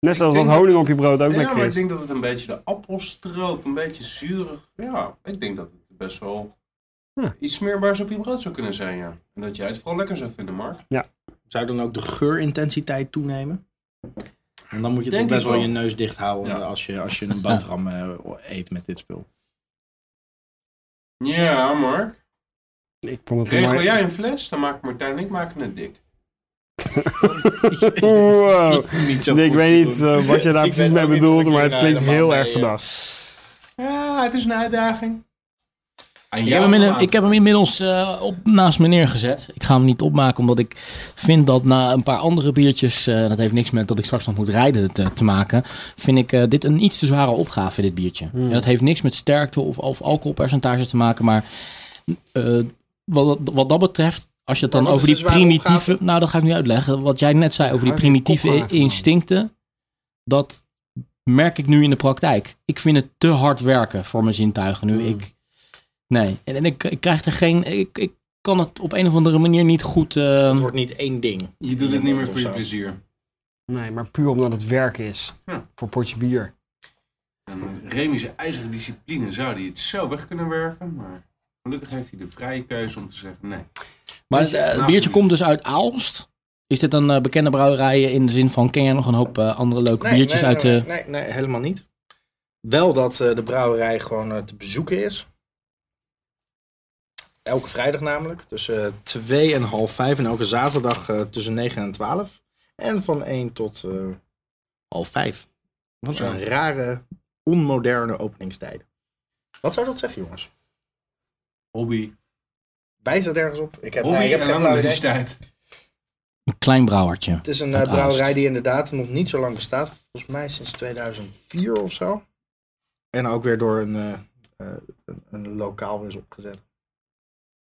S2: Net zoals
S4: Ik
S2: dat
S4: denk dat-
S2: honing op je brood ook
S4: Ja,
S2: lekker
S4: maar ik
S2: is.
S4: denk dat het een beetje de appelstroop, een beetje zuurig. Ja, ik denk dat het best wel
S2: Ja.
S4: iets smeerbaars op je brood zou kunnen zijn, ja. En dat jij het vooral lekker zou vinden, Mark.
S3: Zou dan ook de geurintensiteit toenemen? En dan moet je
S4: Denk
S3: toch best
S4: ik
S3: wel
S4: wel.
S3: je neus dicht houden
S4: Ja.
S3: als, je, als je een boterham eh, eet met dit spul.
S4: Ja, Mark.
S2: Ik vond het een
S4: Regel
S2: mooi-
S4: jij een fles, dan maken Martijn en ik maken het dik.
S2: Wow.
S3: Niet zo
S2: Nee, Oh, ik
S3: goed
S2: weet
S3: te
S2: niet
S3: doen.
S2: eh, wat je daar
S3: Ik
S2: precies
S3: weet
S2: mee
S3: ook niet
S2: bedoelt,
S3: of ik
S2: maar
S3: hier
S2: het klinkt
S3: nou
S2: heel
S3: helemaal
S2: erg
S3: mee,
S2: verdacht.
S4: Ja, het is een uitdaging. Aan
S1: Ik heb,
S4: jou
S1: hem in-
S4: aan-
S1: ik heb hem inmiddels eh, op, naast me neergezet. Ik ga hem niet opmaken, omdat ik vind dat na een paar andere biertjes, eh, dat heeft niks met dat ik straks nog moet rijden te, te maken, vind ik eh, dit een iets te zware opgave, dit biertje. En dat heeft niks met sterkte of, of alcoholpercentage te maken, maar eh, wat, wat dat betreft, als je het dan
S3: Maar wat
S1: over
S3: is
S1: die
S3: de zware
S1: primitieve, nou dat ga ik nu uitleggen, wat jij net zei over die
S2: Waar is die
S1: primitieve
S2: kopgave dan?
S1: instincten, dat merk ik nu in de praktijk. Ik vind het te hard werken voor mijn zintuigen nu.
S2: Mm.
S1: Ik, nee, en, en ik, ik krijg er geen. Ik, ik kan het op een of andere manier niet goed. eh,
S3: Het wordt niet één ding.
S4: Je doet het niet meer voor je
S3: Of zo.
S4: plezier.
S2: Nee, maar puur omdat het werk is.
S4: Ja.
S2: Voor potje bier.
S4: En met Remy's ijzeren discipline zou hij het zo weg kunnen werken, maar gelukkig heeft hij de vrije keuze om te zeggen nee.
S1: maar het, eh,
S3: nou,
S1: het biertje komt dus uit Aalst. Is dit een eh, bekende brouwerij in de zin van ken jij nog een hoop eh, andere leuke biertjes
S3: nee,
S1: uit eh, de.
S3: nee, nee, nee, helemaal niet. Wel dat eh, de brouwerij gewoon eh, te bezoeken is. Elke vrijdag namelijk. Tussen 2 en half 5 en elke zaterdag eh, tussen 9 en 12. En van 1 tot
S1: Oh,
S3: eh, half 5. Wat
S4: Zo.
S3: een rare, onmoderne openingstijden. Wat zou dat zeggen, jongens?
S4: Hobby,
S3: Wijst dat ergens op? Ik heb,
S4: hobby
S3: nee, ik heb
S1: nou
S4: en
S3: geen flauw idee.
S4: tijd.
S1: Een klein brouwertje.
S3: Het is een
S1: Uit
S3: eh, brouwerij
S1: Aalst.
S3: die inderdaad nog niet zo lang bestaat. Volgens mij sinds 2004 of zo. En ook weer door een, eh, eh, een, een lokaal weer is opgezet.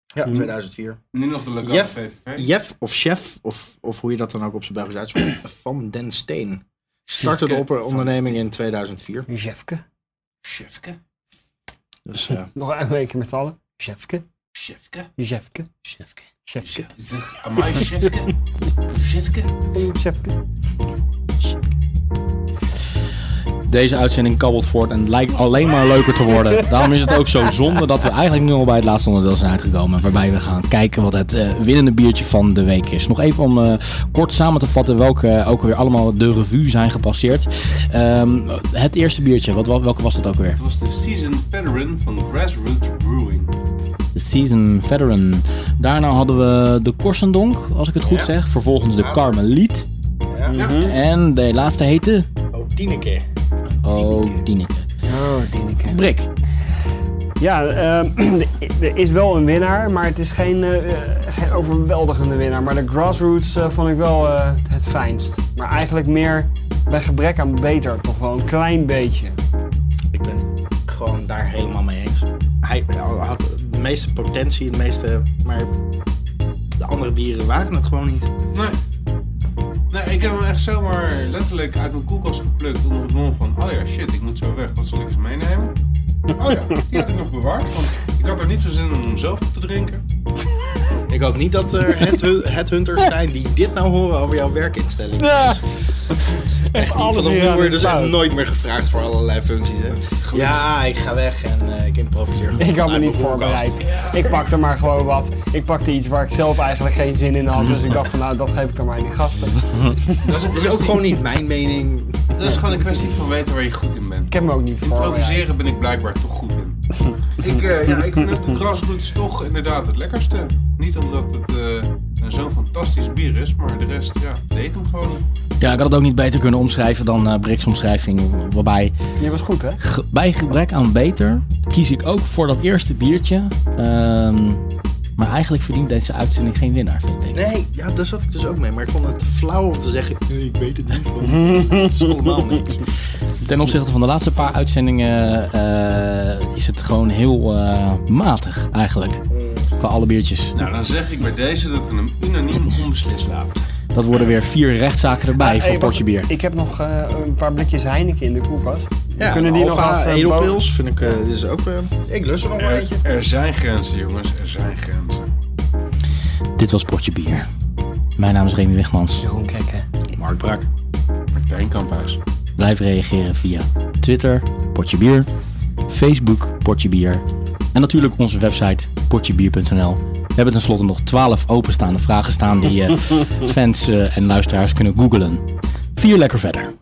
S3: Ja,
S2: Hmm.
S3: 2004.
S4: Nu nog de lokale
S3: Jeff-
S4: VVV.
S3: Jef of Chef, of, of hoe je dat dan ook op zijn Belgisch uitspreekt, Van Den Steen. Startte de
S4: Jefke
S3: opper-
S4: van
S3: onderneming in 2004.
S2: Jefke.
S4: Chefke,
S3: Dus eh,
S2: Nog een keer met z'n allen. Jefke.
S4: Chefke,
S2: Jefke.
S1: Chefke.
S2: Jefke.
S4: Zeg, amai, Chefke. Chefke.
S2: Jefke.
S1: Deze uitzending kabbelt voort en lijkt alleen maar leuker te worden. Daarom is het ook zo zonde dat we eigenlijk nu al bij het laatste onderdeel zijn uitgekomen. Waarbij we gaan kijken wat het eh, winnende biertje van de week is. Nog even om eh, kort samen te vatten welke eh, ook weer allemaal de revue zijn gepasseerd. Ehm, het eerste biertje, wat, wa- welke was dat ook weer?
S4: Het was de season veteran van Grassroots Brewing.
S1: De Season Veteran. Daarna hadden we de Korsendonk, als ik het goed
S4: Ja.
S1: zeg. Vervolgens de Carmeliet.
S4: Ja.
S3: Mhm.
S1: En de laatste heette...
S3: oh, Tineke.
S1: Oh, Dineke.
S2: Oh, Dineke.
S1: Brik.
S2: Ja, ehm, er is wel een winnaar, maar het is geen, eh, eh, geen overweldigende winnaar. Maar de grassroots eh, vond ik wel eh, het fijnst. Maar eigenlijk meer bij gebrek aan beter, toch wel een klein beetje.
S3: Ik ben gewoon daar helemaal mee eens. Hij had de meeste potentie, de meeste, maar de andere bieren waren het gewoon niet.
S4: Nee. Nee, ik heb hem echt zomaar letterlijk uit mijn koelkast geplukt onder het mond van, oh ja, shit, ik moet zo weg, wat zal ik eens meenemen? Oh ja, die had ik nog bewaard, want ik had er niet zo zin om hem zelf op te drinken.
S3: Ik hoop niet dat er headhu- headhunters zijn die dit nou horen over jouw werkinstelling.
S2: Ja,
S3: Echt
S2: alles
S3: alles
S2: hier aan
S3: word je
S2: de
S3: dus echt
S2: fout.
S3: nooit meer gevraagd voor allerlei functies. Hè? Ja, ik ga weg en eh, ik improviseer. gewoon
S2: ik had me
S3: uit
S2: niet
S3: mijn
S2: voorbereid.
S3: koelkast.
S2: Ik pakte maar gewoon wat. Ik pakte iets waar ik zelf eigenlijk geen zin in had. Dus ik dacht van nou, dat geef ik dan maar aan die gasten.
S4: Dat is, een
S3: Het is ook
S4: kwestie-
S3: gewoon niet mijn mening.
S4: dat is gewoon een kwestie van weten waar je goed in bent.
S2: Ik heb me ook niet voorbereid.
S4: Improviseren ben ik blijkbaar toch goed in. ik, eh, ja, ik vind het de grassroots toch inderdaad het lekkerste. Niet omdat het eh, zo'n fantastisch bier is, maar de rest, ja, deed hem gewoon niet.
S1: Ja, ik had het ook niet beter kunnen omschrijven dan eh Brik's omschrijving. Waarbij
S2: Je was goed, hè?
S1: ge- bij gebrek aan beter kies ik ook voor dat eerste biertje. ehm, Maar eigenlijk verdient deze uitzending geen winnaar, vind ik.
S3: Nee, ja, daar zat ik dus ook mee. Maar ik vond het flauw om te zeggen, nee, ik weet het niet, want het is allemaal niks.
S1: Ten opzichte van de laatste paar uitzendingen eh, is het gewoon heel eh, matig eigenlijk.
S2: Mm.
S1: Qua alle biertjes.
S4: Nou, dan zeg ik bij deze dat we hem unaniem onbeslist laten.
S1: Dat worden weer vier rechtszaken erbij voor
S2: Ah, Hey,
S1: een
S2: wacht,
S1: Portje Bier.
S2: Ik heb nog eh, een paar blikjes Heineken in de koelkast.
S3: Ja,
S2: Kunnen die nog
S3: Alpha
S2: als, eh,
S3: edelpils vind ik, eh, dit is ook, eh, ik lust er nog wel eentje.
S4: Er, er zijn grenzen, jongens. Er zijn grenzen.
S1: Dit was Portje Bier. Mijn naam is Remy Wegmans.
S6: Jeroen Krikke.
S3: Mark Brak.
S4: Martijn Kamphuis.
S1: Blijf reageren via Twitter, Portje Bier, Facebook, Portje Bier en natuurlijk onze website portjebier.nl. We hebben tenslotte nog 12 openstaande vragen staan die eh, fans eh, en luisteraars kunnen googlen. Vier lekker verder.